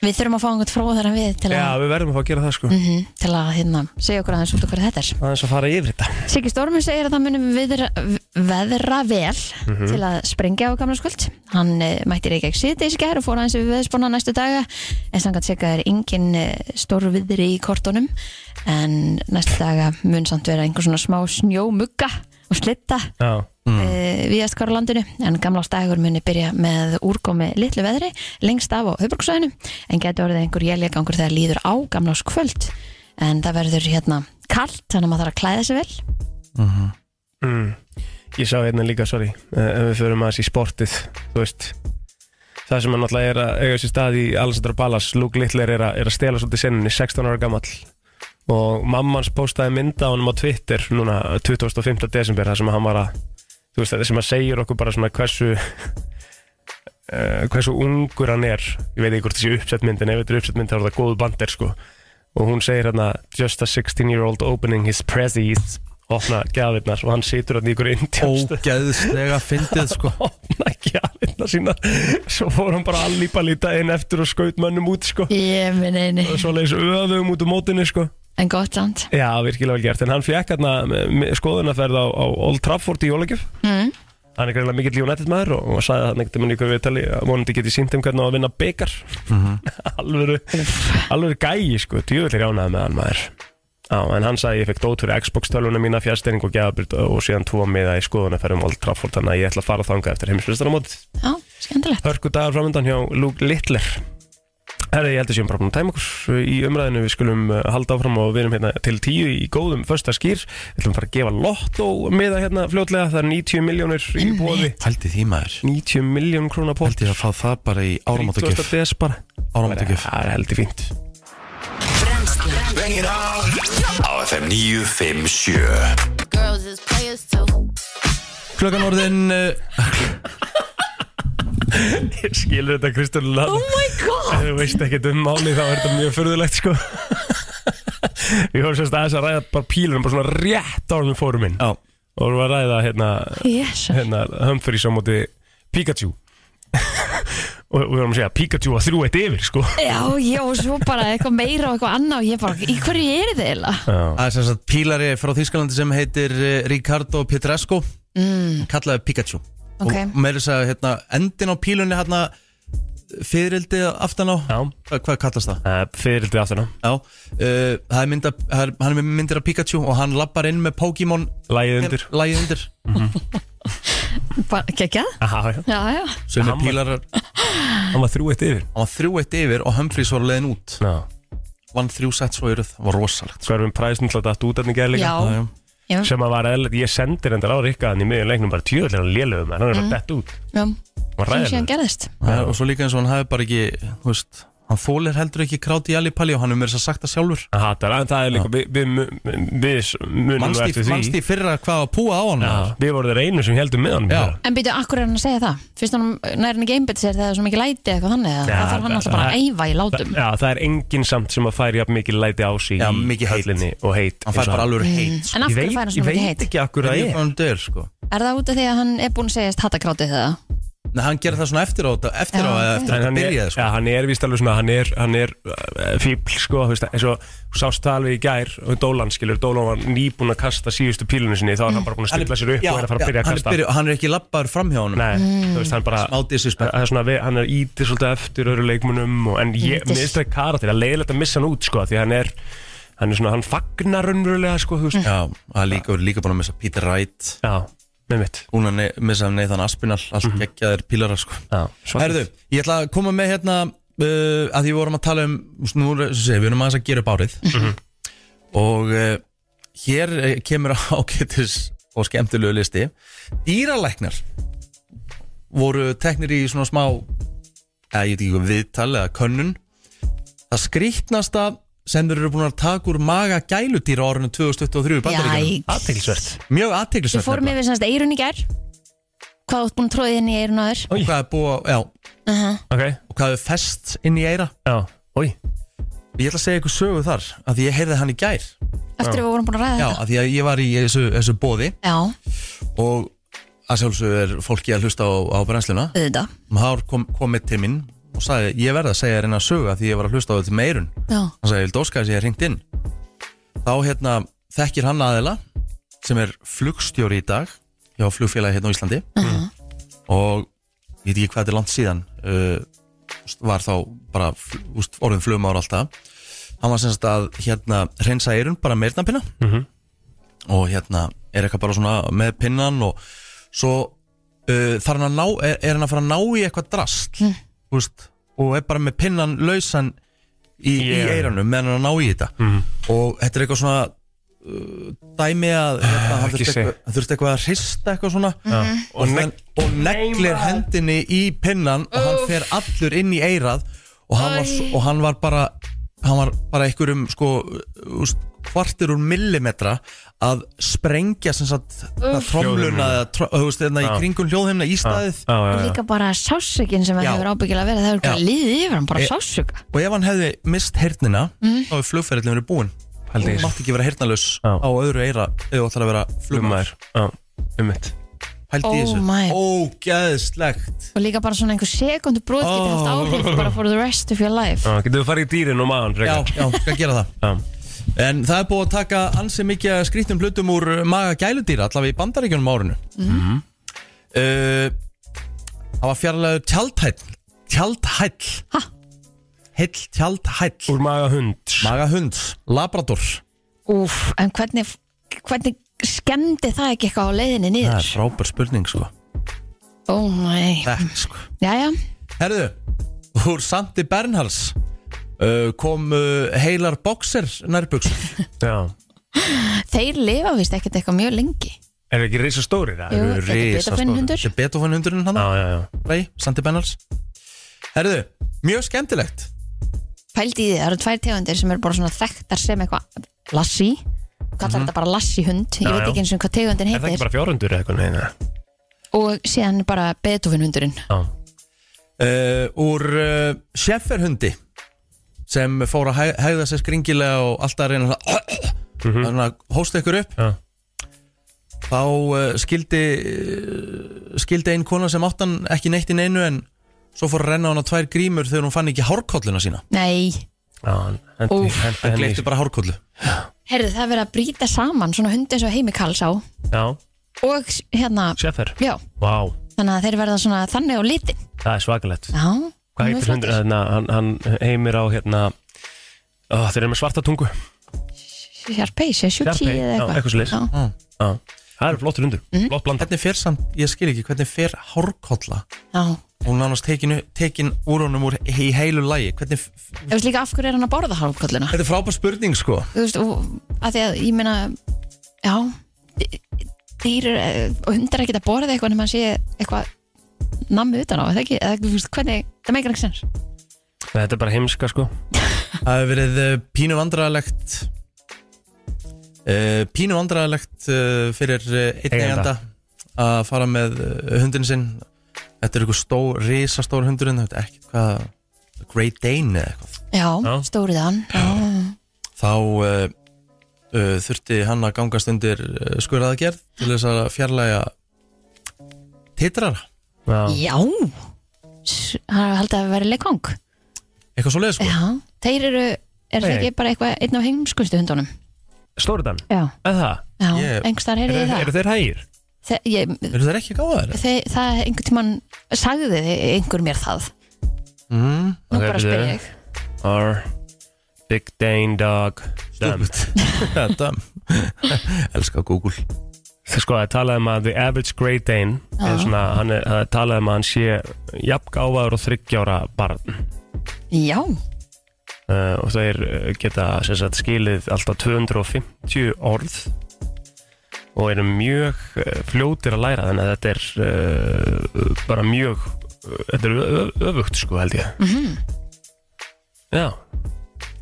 Við þurfum að fá einhvern fróðar en við til að,
Já, við verðum að fá að gera það sko
Mhm, til að hérna, segja okkur aðeins út okkur þetta er.
aðeins að fara yfir þetta
Siggi Stormur segir að það munum viðra, veðra vel til að sprengja á gamla skuld. Hann uh, mætti Reykjavík síðdeis í gær og fór aðeins við veðspána næstu daga. En samkvæmt Sigga er engin uh, stórviðri í kortunum en næstu daga mun samt vera einhver svona smá snjómugga og slitta
Já,
mm. viðast hvar á landinu en gamla stægur muni byrja með úrkomi litlu veðri lengst af á höfbruksvæðinu en getur orðið einhver jæljagangur þegar líður á gamla skvöld en það verður hérna kalt þannig að maður þarf að klæða sig vel
mm. ég sá hérna líka, sorry eh, ef við förum aðeins í sportið þú veist það sem er náttúrulega er að eiga sér stað í Alessandra Ballas, Luke Littler er, að- er að stela svolítið senninni 16 ára gamall og mammans postaði mynda á honum á Twitter núna 25. desember þar sem hann var að þú veist, það sem að segir okkur bara svona hversu uh, hversu ungur hann er ég veit ekki hvort þessi uppsett mynd en ef þetta er uppsett mynd þá er það góðu bandir sko og hún segir hérna just a 16 year old opening his prezzies opna gæðirnar og hann situr hann í ykkur indjámstöð
Ógeðslega fyndið sko
opna gæðirnar sína svo fór hann bara allípa lítið inn eftir og skaut mönnum út sko
Ég minn eini
og svo leiðis öðum út úr mótinu sko
En gott samt
Já, virkilega vel gert, en hann fekk hérna skoðunarferð á, á Old Trafford í Jólagjöf
mm.
hann er greiðlega mikill United maður og, og sagði það nektum hann ykkur viðtali að vonandi geti sínt um hvernig á að vinna byggar alvöru, alvöru gæi sko, djúvill er jánaði með hann maður Já, en hann sagði ég fekk dót fyrir Xbox-tölvuna mína, fjárstyrning og gæðabrýtt og síðan tvo miða í skoðunarferðum Old Trafford þannig að ég ætla að fara þangað eftir heimsfyrstaramótið
Já, skemmtilegt
Hörku dagar framöndan hjá Luke Littler Herri, ég held að séum bara búin að tæma okkur uh, í umræðinu, við skulum eh, halda áfram og við erum hérna til tíu í góðum första skýr, við ætlum að fara að gefa lotto miða hérna fljótlega, það er 90 miljónir í bóði,
Hældi því maður
90 miljón krónar pott
Hældi ég að fá það bara í áramátagjöf
des bara,
Áramátagjöf
það er heldur fínt
Bring it on Á FM 957
Girls is players too.
Oh
Klökan orðin eh,
Ég skilur þetta Kristján Lann
Oh my god
Ef þú veist ekkert um máli þá er þetta mjög furðulegt sko Við vorum sérst aðeins að ræða bara pílunum bara svona rétt árum við fórum inn
Já.
og vorum að ræða hérna,
Jésu
hérna Humphreys á móti Pikachu og og við vorum að segja Pikachu að þrjú eitt yfir sko
Já, já, og svo bara eitthvað meira og eitthvað annað og ég bara, í hverju er þið eiginlega?
Það er sem sagt pílari frá Þýskalandi sem heitir eh, Ricardo Pietresco mm. kallaði Pikachu
Ok.
og meira þess að hérna, endin á pílunni hérna, fyririldi aftan á
Já,
Hva- hvað kallast það?
uh, fyririldið aftur
Já, uh, það er mynda, það er, hann er með myndir af Pikachu og hann lappar inn með Pokémon
Lægið undir
lagið undir
Bara, geggjað?
Aha, já.
Já, já
sem er
Hann var-
pílarar hann
Hann var þrjú eitt yfir
var þrjú eitt yfir og Humphreys var leiðin út
Já,
vann þrjú sett svo yfir það var rosalegt
hverfum præsnum til að datt út að gera líka
Já,
Já, já.
já,
sem að var eðlert, ég sendir endur á Rikkaðan í miðjum leiknum bara tjóðlega lélegum, hann er bara dett út
já
hann
Sem
var ræðilegur.
síðan gerðist
Það er- og svo líka eins og hann hafi bara ekki þú veist, hann þólir heldur ekki kráti í alipalli og hann er meira þess að sagt það sjálfur
Hann hatar, en það er líka, við, við, mu- við munum nú
mannst
eftir
í,
því
manst í fyrra hvað að púa á hann
Já,
var?
Við vorum þeir einu sem heldum með honum
Já.
hérna.
En býtu, akkur er hann að segja það? Fyrst hann nær hann ekki einbytt sér þegar það er svo mikið læti eitthvað þannig eða?
Já,
Það þarf hann
það-
alltaf bara
það-
að eyfa í látum
Já, það er enginn samt sem að færi jafn mikið læti á sig
Já,
í
mikið heitt.
höllinni og heitt
hann fær
eins og
bara alveg heit sko.
En af
Ég
hverju
veit,
fær hann
ég
svona mikið
veit
heit?
ekki akkur
Ég
það
veit
er
hvað hann deyr, sko.
Er það út af því að hann er búinn að segjast hattakrátið eða?
Nei, hann gerir það svona eftir á þetta eftir á
Já,
eða
ok.
eftir að
hann
þetta
er,
byrjaði sko.
já, hann er víst alveg svona, hann er, hann er uh, fíbl, sko, þú veist, eins og þú sást það alveg í gær, og Dólan, skilur, Dólan var nýbúin að kasta síðustu pílunni sinni, þá er hann bara búin að stilla sér upp
Já,
og er að fara
já,
að byrja að
hann er
kasta.
byrja- hann er ekki labbaður fram hjá hann
Nei, þú veist, hann bara,
Smá sko. disrespect.
það er svona, við- hann er ítið svolítið eftir öðru leikmunum, og, en
Mm,
ég, mér
dis-
finnst það karakter, að leiðilegt að missa hann út, sko, því hann er, hann er svona, hann fagnar raunverulega, sko,
Mm.
þú veist,
Já, hann er líka, við erum líka búin að missa Peter Wright
já, Mhm. með mitt,
Búin að ne- missa Nathan Aspinall Allt mm. geggjaðir pílarar sko
já, svart.
Herðu, ég ætla að koma með hérna uh, að því við vorum að tala um nú, er- sem sé, við erum aðeins að gera upp árið og uh, hér eh, kemur ágættis og skemmtilegu listi dýralæknar voru teknir í svona smá eða ég veit ekki hvað viðtal eða könnun það skrýtnasta sem þeir eru búin að taka úr maga gæludýra á árinu 2023 í Bandaríkjunum.
Athyglisvert.
mjög aðteglisvægt
Við fórum yfir semst eirun í gær Hvað þú ert búin að tróðið inn í eirun aður
og hvað er búið, á- já,
Ok,
og hvað er fest inn í eira
já, oi,
Ég ætla að segja ykkur sögu þar að því ég heyrði hann í gær
Eftir að við vorum búin að
Já,
ræða
að því að ég var í þessu, þessu bóði
þetta Já,
og að sjálfsög er fólki að hlusta á, á brennsluna
auðvitað
og það kom, komið til mín og sagði ég verði að segja þér eina sögu að því ég var að hlusta á þetta meirun
Já,
hann sagði, ég vil dóska þess að ég er hringt inn þá hérna þekkir hann aðila sem er flugstjóri í dag hjá flugfélagi hérna á Íslandi og ég veit ekki hvað þetta er langt síðan uh, úst, var þá bara fl- úst, orðin flugmáður alltaf hann var sem sagt að hérna reynsa eirun bara með eirnapinna
Mhm.
og hérna er eitthvað bara svona með pinnan og svo uh, þarf hann að ná, er, er hann að fara að ná í eitthvað drast mm. úst, og er bara með pinnan lausan í, í
Yeah. Mhm.
eiranum meðan hann er að ná í þetta og þetta er eitthvað svona uh, dæmi að hérna, hann
Ah, ekki
þurfti
sé. Mhm.
eitthvað, hann þurfti eitthvað að hrista eitthvað svona og,
Og
þann- og neglir hendinni í pinnan og hann fer allur inn í eirað og hann, var, s- og hann var bara hann var bara einhverjum sko úst, kvartir úr millimetra að sprengja sem sagt það tromluna eða tro- þú veist, hérna, í
Já.
kringum hljóðhimna í staðið
já, já, já,
líka bara sásökin sem það
Já.
hefur ábyggilega verið Það hefur
Já.
líðið yfir hann, bara
E-
sásöka Mhm.
og ef hann hefði mist hernina þá er flugferðlið verið búin
Haldið.
Þú mátt ekki vera heyrnalaus
Já.
á öðru eira ef þú ætlar að vera flugmaður
Flugmaður Já, um mitt
Hældi í
Oh
þessu
my.
Ógæðslegt
og líka bara svona einhver sekundu brot getur haft
Oh.
áhrif bara for the rest of your life
Já, getur við farið í dýrin og maðan
Já,
frekar
já, skal gera það
Já
En það er búið að taka ansi mikið af skrýttum hlutum úr maga gæludýra allavega í bandaríkjunum á árinu mm -hmm. Það var fjarlægur tjaldhæll Tjaldhæll
Ha?
Heill tjaldhæll
Úr maga hund
Maga hund, labrador
Úf, en hvernig, hvernig skemmdi það ekki eitthvað á
Það er
leiðinni niður? Oh
frábær spurning sko
Ó mæ,
Þetta sko
jæja,
Herðu, úr Santi Bernhards uh, kom uh, heilar boxer nærbuksum
Já
þeir lifa vist ekkert eitthvað mjög lengi
Er það ekki reysa stóri það?
Jú,
Eru
þetta er
risastórir.
Beethoven hundur
Þetta er Beethoven hundurinn hann
Já, já, já
Ræ, Santi Bernhards Herðu, mjög skemmtilegt
Pældi í því, það eru tvær tegundir sem eru bara svona þekktar sem eitthvað lassi kallar
Mhm.
þetta bara lassi hund, ég
Já,
veit
já.
ekki eins og hvað tegundin
Er það
heitir
ekki bara fjórundur eða eitthvað neina?
og síðan bara Beethoven hundurinn
Já
uh, Úr uh, Sjefferhundi sem fór að hæ- hegða sér skringilega og alltaf að reyna að þannig að hósta ykkur upp
Já.
þá uh, skildi uh, skildi ein kona sem áttan ekki neitt í neinu en svo fór að renna á hana tvær grímur þegar hún fann ekki hárkolluna sína
Nei,
Já, hann hendi,
Úff,
hendi
hann
henni í-
gleypti bara hárkollu
herðu það er verið að brýta saman svona hundi eins og heimi kalls á
Já,
og s- hérna,
Sjaffer
já,
Vá,
þannig að þeir verða svona þannig á litin
það er svakalegt
Já, mjög
Hvað heitir
flottir.
hundur? Hérna, hann, hann heimir á hérna ó, Þeir eru með svarta tungu
Sjarpei, Sjarpei
Sharpei,
eða
já,
eitthvað
eitthvað svoleiðis.
Já.
Já Það eru flottur hundur
Mhm.
Flott blanda
hvernig fer samt, ég skil ekki, hvernig fer hárkolla
Já.
hún nánast tekin, tekin úr honum úr í heilu lægi hvernig, f-
Ég veist líka af hverju er hann að borða hálfkolluna
þetta er frábær spurning sko
Þú veist, og að því að ég meina Já Dýr eh, og hundar ekkert að borða eitthvað nema að sé eitthvað nammi utan á, er það ekki, eða þú veist hvernig það meikar ekki sens
Þetta er bara heimska sko
Það hefur verið eh, pínu vandræðalegt uh, Pínu vandræðalegt uh, fyrir uh, einn
Eiganda.
eiganda að fara með uh, hundin sinn Þetta er einhver stór, risastór hundurinn þetta er ekkert hvað Great Dane eða eitthvað
Já,
Já.
stórið hann Já,
Þá uh, uh, þurfti hann að gangast undir uh, skurðaðgerð til þess að fjarlæga titrara
Já,
Já. S- Hann er haldið að vera leikong
Eitthvað svo leið sko
Já, þeir eru, er það
Nei.
ekki bara eitthvað einn af heimskustu hundunum
Stóriðan
Já,
Er það?
já,
Ég-
engstar
Eru,
heyrið þið það
eru þeir hægir?
Þe, ég,
Eru þeir ekki gáðaðir?
Þe, það einhvern tímann sagði þið einhver mér það
Mm,
nú
Ok,
bara
bíddu.
spyr ég
Or Big Dane Dog Dumb.
Þetta Elska Google
Sko, það er talað um að the average Great Dane er svona, hann er, það er talað um að hann sé jafn gáfaður og þryggjára barn
já,
uh, og þeir uh, geta sem sagt, skilið alltaf 250 orð og eru mjög uh, fljótir að læra þannig að þetta er uh, bara mjög eh, þetta er ö- ö- öfugt sko held ég mm Já,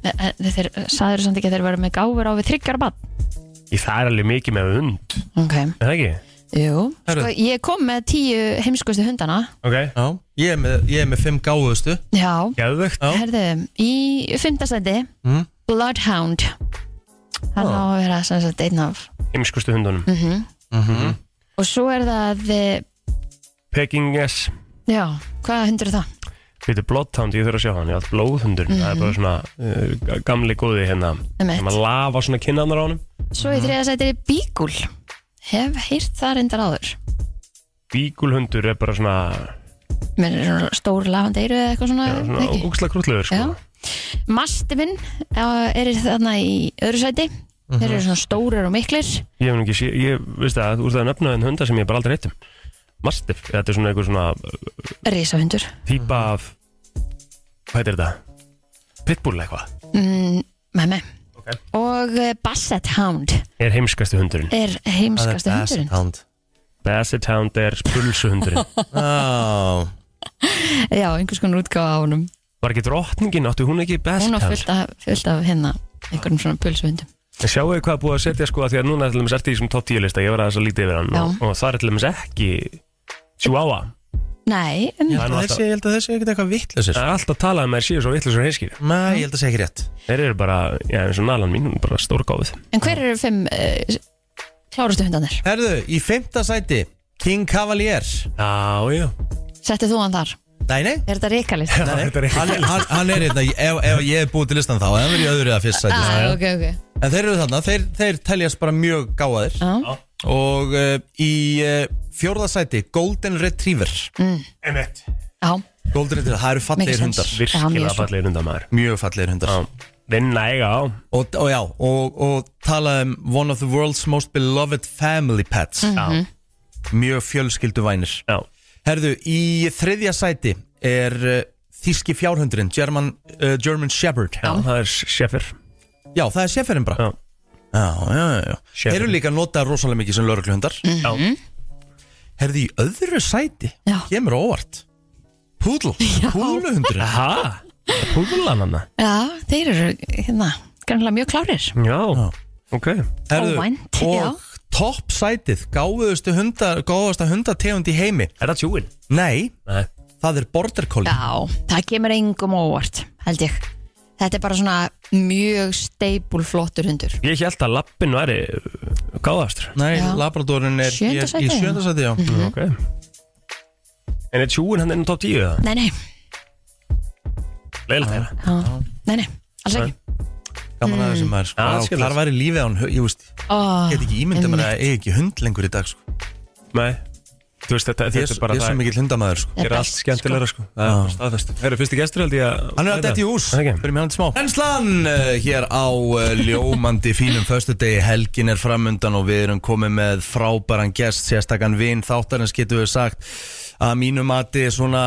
En- en þeir sagður samt ekki að þeir verður með gáfur á við þryggjara bann
í það er alveg mikið með hund
ok,
er það ekki?
jú
Herru.
sko, ég kom með tíu heimskustu hundana
Ok
Já, ég er með, ég er með fimm gáðustu
já,
Geðvögt
Já.
herðu, í fymtasendi
Mm.
Bloodhound hann á að vera sem sagt einn af Mhm.
Heimskustu hundunum
Mhm.
og svo er það eh,
Peking S
já, hvaða hundur er það?
Býtu Bloodhound, ég þurf að sjá hann, ég átt blóðhundur Það er bara svona uh, gamli góði hérna
Mhm. Einmitt.
sem að lafa svona kinnanar á honum
svo
Mm.
í þriðasendi er Beagle hef heyrt það reyndar áður
Bígulhundur er bara svona
með svona stór lafandi eiru eða eitthvað svona,
Já, svona
ekki?
ógslag krútlegur sko.
Já. Mastifinn uh, er þarna í öðru sæti Þeir
Mhm.
eru svona stórir og miklir
Ég hef nú ekki sé, ég veist það, úr það er nöfnaðin hunda sem ég bara aldrei heitum Mastiff, þetta er svona einhver svona uh,
Rísahundur
típa
Mhm.
af Hvað heitir þetta? Pitbull eitthvað
mm, Með með
Ok.
Og eh, Basset Hound
Er heimskasti hundurinn
er heimskastu hundurinn
Hand
Basset Hound er pulsuhundurinn
Já,
Já, einhvers konar útgáfa á honum
Var ekki drottningin, áttu hún ekki Basset
Hún á
Hound?
fullt af, fullt af hérna einhverjum svona pulsuhundum
En Sjáu þið hvað er búið að setja sko að því að núna er til dæmis ertu í þessum top 10 lista, ég var aðeins að lítið yfir hann
Já.
og, og það er til dæmis ekki Chihuahua
Nei, um,
Ég held að
Hann
þessi, ég held að þessi er ekkert eitthvað vittlausir
Það er alltaf talað um að þær séu svo vitlausar hinskýr
Nei, ég held að sé ekki rétt
Þeir eru bara, já eins og nalan mín, hún er bara stórgáfið
en hver eru fimm uh, klárustu hundanir?
Herðu, í fimmta sæti King Cavalier
Já, já
Settið þú hann þar?
Nei, nei,
Er þetta reikalist?
nei.
þetta er ekki-
Hann, hann, hann er hérna, ef, ef ég er búið til listan þá hann verður í öðru eða fyrst sæti
Ah, ok, ok
En þeir eru þarna, þeir, þeir teljast bara mjög gáðir
Já.
Og uh, í uh, fjórða sæti Golden Retriever
Mm.
Emmett
Já,
Golden Retriever, það eru fallegir
Mikið
hundar
sens. Já, mjög
Virkilega
svo.
fallegir undan maður
Mjög fallegir hundar
Já, Vinna eiga á
og, og já, og, og tala um One of the world's most beloved family pets
Já,
Mjög fjölskylduvænir
já
Herðu, í þriðja sæti er uh, Þíski fjárhundurinn German, uh, German Shepherd
Já, það er Sheffer
Já, það er Shefferin bara
Já.
já, já, já, já.
Shepherd.
Þeir eru líka notað rosalega mikið sem lögregluhundar
Já,
Herðu, í öðru sæti
Já.
Kemur á óvart Púdl, púdluhundur
ha? Húlan hann
já þeir eru hérna grannlega mjög klárir
Já, ok
Óvænt, já.
og topp sætið Gáðustu hundar, gáðasta hundategund í heimi
Er það tjúin?
Nei,
Nei
það er Border Collie
Já, það kemur engum óvart, held ég Þetta er bara svona mjög steipul flottur hundur
Ég held að lappin væri uh, gáðastur
Nei,
Já.
Labradorin er
Sjöunda
í-
sæti, Mhm.
í
já.
sjönda sæti já.
Ok En er tjúin hann inn á top 10 eða?
Nei, nei,
Leilegt þeirra
já. nei, nei, alls ekki
Gaman aðeins sem maður sko.
Já,
Vá,
skilur.
Hvar væri lífið án, hu- ég veist
oh,
Ég get ekki ímyndað mér að eiga ekki hund lengur í dag sko.
Nei Þú veist þetta,
Ég er
þetta er
svo-
bara
ég er svo
það
mikill hundamaður sko. Ah.
Það
Það er allt skemmtilegra sko Það er bara staðfest Það eru fyrsti gestur held ég að
Hann er að detti í hús
Það ekki
Fyrir mér hann smá Enslan uh, hér á uh, ljómandi fínum Föstudegi helgin er framundan Og við erum komið með frábæran gest Sérstakann vin þáttarins getum við sagt Að mínu mati svona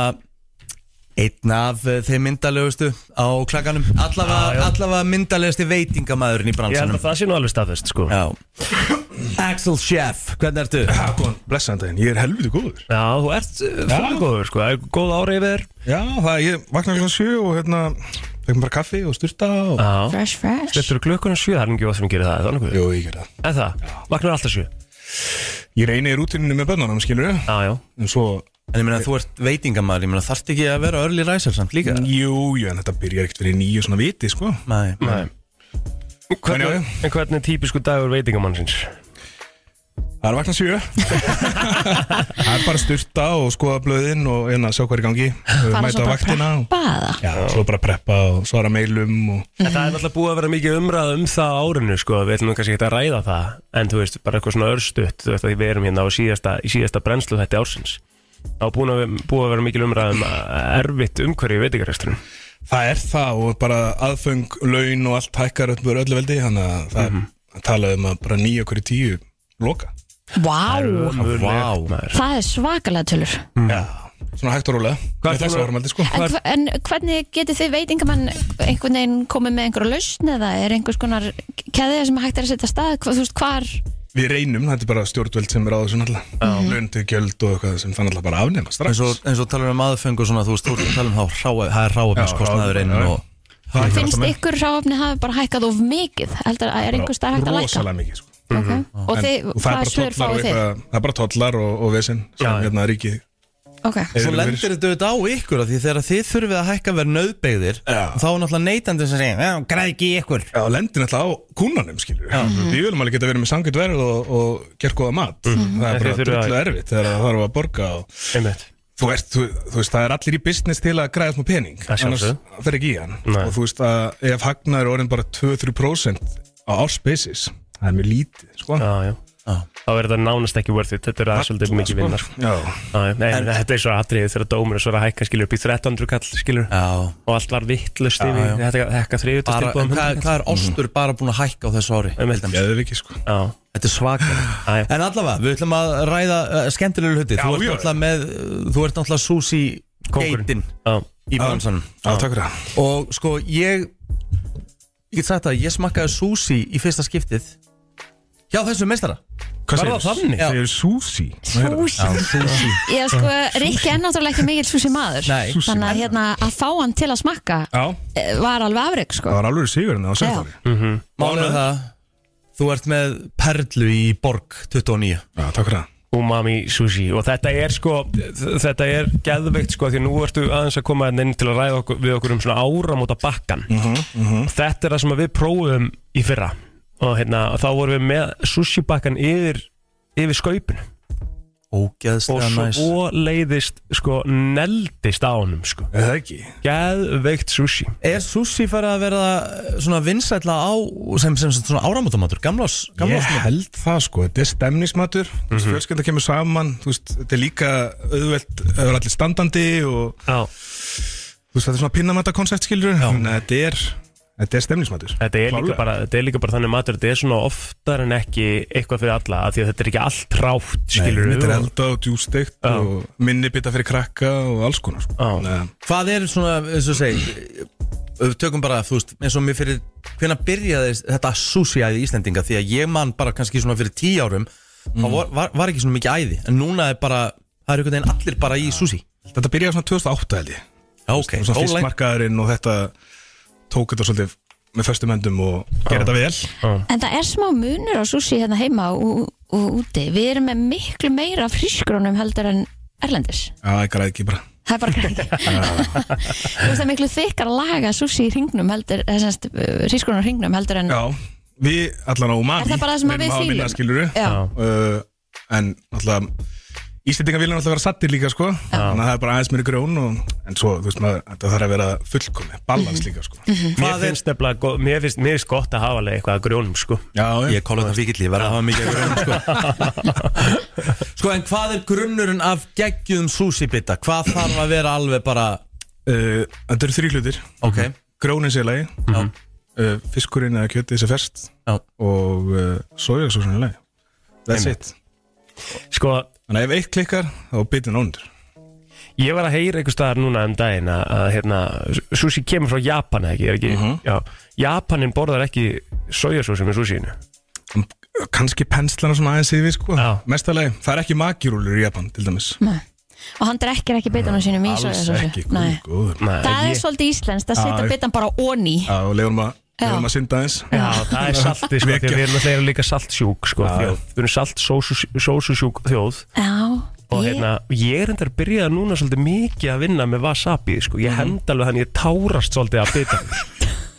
Einn af uh, þeim myndalegustu Á klakkanum
Já, já.
Allavega allafa myndalegasti veitingamæðurinn í
Ég held
bransanum
að það sé nú alveg staðfest sko Já,
Já Axel Chef, hvernig ertu?
Já, góðan, blessaðan daginn, ég er helviti góður
þú ert fólkóður sko Það er góð ára yfir þér.
Já, það, ég vaknaði klokkan sjö og hérna Fekkum bara kaffi og styrta og
Já
Fresh, fresh
Þetta eru glökkuna sjö Það er ekki oft sem gerir það er það nokkuð?
Jú, ég ger það
En það Vaknar alltaf sjö
Ég reyni í rútininu með bönnunum, skilur ég
Já, já
En svo,
En ég meina þú ert veitingamæður, ég meina þarft ekki að vera early riser samt líka
jú, já, en þetta byrjar ekkert fyrir nýju svona viti, sko
Nei,
já, já.
Hvernig, en hvernig er típisku dagur veitingamannsins?
Það er vaknað sjö Það er bara styrta og skoða blöðin og hérna sjá hvað er í gangi uh,
Fara
Mæta
svo
á
bara að
vaktina og,
preppa eða
Já, svo bara preppa og svara meilum og
En það er náttúrulega búið að vera mikið umræð um það á árinu sko, við ætlum nú kannski ekki að ræða það en þú veist, bara eitthvað svona örstutt þú veist að við erum hérna á síðasta, í síðasta brennslu þetta ársins þá er búin að, búið að vera mikil umræð um að- erfitt umhverju í veitingarestunum
Það er það og bara aðföng, laun og allt hækkar upp öllu veldi Þannig að það mm -hmm. talaði um að bara nýju okkur í tíu loka
Vá,
Vá.
maður.
það er svakalega tölur
Já, svona hægt og rólega
Hvað
Hvað
er
er þessi
svona-
áramaldi sko?
en, hva, en hvernig getið þið veitingamann einhvern veginn komið með einhverja lausn eða er einhvers konar keðið sem hægt er að setja af stað, hva, þú veist hvar
Við reynum, þetta er bara stjórnvöld sem er á þessu náttúrulega Mm-hmm. Laun til gjöld og eitthvað sem þannig alltaf bara afnema strax
eins og, eins og talar um aðfeng og svona, þú veist, þú ert að tala um þá hráa, það er hráefniskostnaður
Já,
inn
hráefni,
og
Það er
finnst
alltaf með-
ykkur ráfni hafi bara hækkað of mikið heldur að er einhvers stað hægt að læka
Rosalega mikið sko.
okay. og,
En-
þið,
og það, er
hvaða
bara
svör
tollar og
fáið þið
eitthvað- það er bara tollar og, og vesinn sem
Já, já.
hérna ríkið
okay.
Svo lendir þetta auðvitað á ykkur af því þegar þið þurfið að hækka verð nöðbeigðir
Já.
þá er náttúrulega neytandi sem segir, já, græð ekki í ykkur
Já, lendir náttúrulega á kúnanum skilur við Við viljum alveg geta verið með sangut verð og, og gert góða mat Það
En
er bara
þið þurfið að-
drullu erfitt þegar það þarf að borga og...
Einmitt.
þú, ert, þú, þú veist, það er allir í business til að græða smá pening
Það
annars
sjálfsögðu.
fer ekki í hann
Nei.
og þú veist að ef hagnaður er orðin bara 2-3% á ársbasis það er mjög lítið sko.
Já, já. þá er þetta nánast ekki worth it þetta er aðeins svolítið mikið vinna sko.
Já.
Já, já. Nei, Þetta er svo atriðið þegar dómur svo er að hækka skilur upp í 1300 kall skilur
Já,
og allt var vittlust yfir
Já, já.
þetta hækka
bara, en
þriðutastilbúðum
hvað, hvað er ostur bara búin að hækka á þessu ári?
Einmitt.
Þetta
Geðviki, sko.
er svakar
Já, já.
En allavega, við ætlum að ræða uh, skemmtilegur hluti Þú ert
já.
náttúrulega með, uh, þú ert náttúrulega sushi geitin í bransanum
Já, takk fyrir það
Og sko ég Ég get sagt það, ég smakkaði sushi í fyrsta skiptið Hjá þessu meistara
Hvað
Var það þannig?
Það er sushi
Súsi
Sushi
Eh,
Ég sko, Rikki er náttúrulega ekki mikill súsi maður
Nei. Sushi
Þannig að hérna að fá hann til að smakka
Já,
eh, var alveg afreg sko
það var alveg sigurinn á sérfari
Málið er það Þú ert með perlu í Borg 29
Já, takk fyrir það
umami sushi og þetta er sko þetta er geðveikt sko því að nú ertu aðeins að koma hérna inn til að ræða okkur, við okkur um svona áramóta bakkan
Mhm,
þetta er það sem að við prófum í fyrra og hérna og þá vorum við með sushi bakkan yfir yfir skaupinu og
Ógeðslega næs
svo leiðist sko neldist á honum sko
Er það ekki?
geðveikt sushi
Er sushi farið að verða eh, svona vinsætla á sem, sem, sem svona áramótamatur, gamlás,
Ég
gamlás
held það sko, þetta er stemnismatur
Mhm.
mm -hmm. fjölskylda kemur saman, þú veist þetta er líka auðvelt, það er allir standandi og
Já.
þú veist þetta er svona pinnamata koncept skilur þetta er, þetta er stemnismatur
Þetta er, líka
Klárlega.
bara, þetta er líka bara þannig matur þetta er svona oftar en ekki eitthvað fyrir alla af því að þetta er ekki allt rátt skilur
Nei, Þetta er elda og djústeikt
Já.
og minni bita fyrir krakka og alls konar sko.
Já.
Nei,
Hvað er svona, eins og segi við tökum bara, þú veist, eins og mér fyrir hvenna byrjaði þetta sushi-æði Íslendinga því að ég man bara kannski svona fyrir tíu árum þá var, var, var ekki svona mikið æði en núna er bara, það er einhvern veginn allir bara í sushi
Þetta byrjaði svona 2008 held ég
Já, ok,
og svona
ólega
fyrstmarkaðurinn og þetta tók þetta svolítið með föstum endum og gerði þetta vel
En það er smá munur á sushi hérna heima og, og úti. Við erum með miklu meira af frískrónum heldur en erlendis.
Já, ég græði ekki bara
Það er bara krakki. Þú veist það er miklu þykkar að laga sushi í ringnum heldur, eh, eða semst frískrónum í ringnum heldur en...
Já, við allan á umami
Er það bara það sem að við
erum að
fílum?
vinna, skilurðu.
Já.
uh, En alltaf Íslendingar vilja alltaf vera sattir líka sko Þannig að það er bara aðeins mér í grjón og, En svo, þú veist maður, þetta þarf að vera fullkomi Balans líka sko
mér finnst, nefnilega go- mér, finnst, mér finnst gott að hafa alveg eitthvað að grjónum sko
Já,
Ég
ég,
kóla þetta fíkildi, verða að hafa mikið að grunn sko. sko, en hvað er grunnurinn af geggjum sushi-bita? Hvað þarf að vera alveg bara
uh, þetta eru þrý hlutir
ok,
Grjónin sér í lagi
já,
uh, Fiskurinn eða kjötið sem ferst
já
Og uh, sojasósun í lagi That's it
sko,
Þannig að ef eitt klikkar, þá bitin ánundur
ég var að heyra einhver staðar núna um daginn að, að hérna, sushi kemur frá Japan eða ekki, er ekki
Mhm.
já, Japanin borðar ekki sojasósum í sushinu
Um, Kanski penslana svona aðeins yfir sko
Já.
Mestalegi, það er ekki makirúlur í Japan til dæmis
Nei. Og hann drekkir ekki bitanum sínum í
Alls
sojasósu.
ekki,
Nei.
guð, góður
Nei,
Það er
ég-
svolítið íslenskt að setja
Já.
bitan bara onni.
Já, og leiðum að,
Já.
leiðum að synda eins
Já, það er salti sko, því að
Vekja.
við erum alltaf líka saltsjúk sko, þjóð, við erum salt sósusjúk þjóð
Já.
og
Ég-
hérna, ég er enda að byrja núna svolítið mikið að vinna með wasabi sko.
Mhm.
ég hend alveg hann, ég tárast svolítið að bita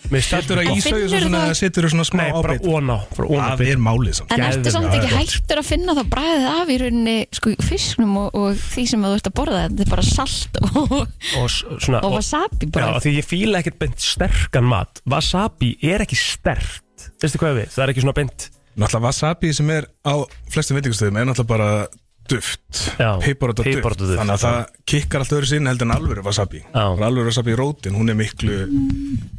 með
Heldur
stættur
að
að
ísa-
ísauðu
finnur
svona,
það-
setur svona smá
Nei, bara
ábyrg
óná, bara óná
Það er málið samt
En ertu
Geðveikt.
samt
Já,
ekki
gott.
hættur að finna þá bræðið af í rauninni sko, fisknum og, og því sem þú ert að borða þetta er bara salt og,
og, s- svona,
og wasabi
Já,
bara
af því ég fíla ekkert beint sterkan mat Wasabi er ekki stert Veistu hvað við, það er ekki svona beint
Náttúrulega wasabi sem er á flestum veitingastöðum er náttúrulega bara duft
Já,
Peiparot og duft
piparúta duft.
Þannig að það kikkar allt öðru sinni heldur en alvöru wasabi
Já.
Og Alvöru wasabi í rótin, hún er miklu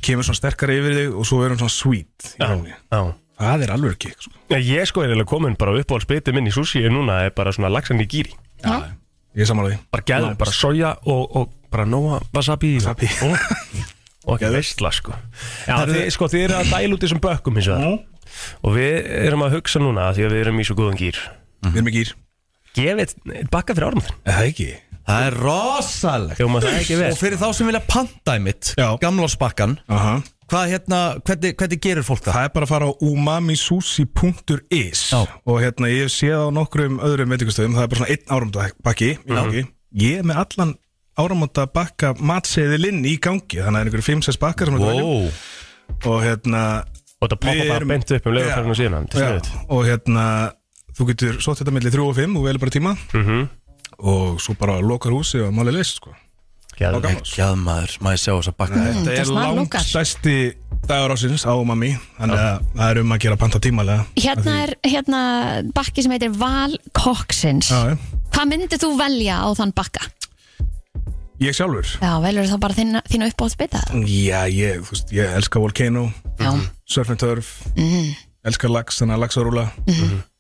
kemur svona sterkari yfir þig og svo er hún svona sweet í rauninni
Já
Það er alvöru kikk sko.
Já, Ég sko er eiginlega komin bara upp á spytið minn í sushi er núna er bara svona laxan í gýri
Ég er samanlega því
bara gæður, bara soja og, og bara nóa wasabi
Wasabi.
og, og ekki veistla sko Já, þið, sko, þið eru að dæla út þessum bökkum hins vegar og við erum að hugsa núna af því að við erum í svo góðan gýr
Við erum ekki ír
gefið bakka fyrir árum
Það er ekki
Það er rosalegt
Hljómar það ekki vel?
Og fyrir þá sem vilja panta einmitt
Já.
Gamlásbakkan
Aha.
Hvað hérna, hvernig, hvernig gerir fólk það?
Það er bara að fara á umamisushi.is
Já.
og hérna ég hef séð á nokkrum öðrum veitingastöðum, það er bara svona einn áramótabakki í gangi. Ég er með allan áramótabakka matseðilinn í gangi, þannig að það er einhverju 5-6 bakkar sem er
Wow.
og hérna
og þetta poppa
Við
bara
erum-
beint upp um
Já.
lögafærinu síðan til
já,
sniðut
og hérna þú getur sótt þetta millir 3 og 5 og velur bara tíma
Mhm.
og svo bara lokar húsi og máli list sko.
Geðveikt.
Gjað maður, maður sjá þess að bakka hérna?
Þetta
það
er
snar lokar.
langstæsti dagur ásins á umami, þannig að það er um að gera panta tímalega.
Hérna er hérna bakki sem heitir Val Coxins
Já, já.
Hvað myndir þú velja á þann bakka?
Ég sjálfur
Já, velur þá bara þína, þína upp á að spita
Já, ég, þú veist, ég elska Volcano
Já,
Surf and Turf Elska lax, þannig að laxarúla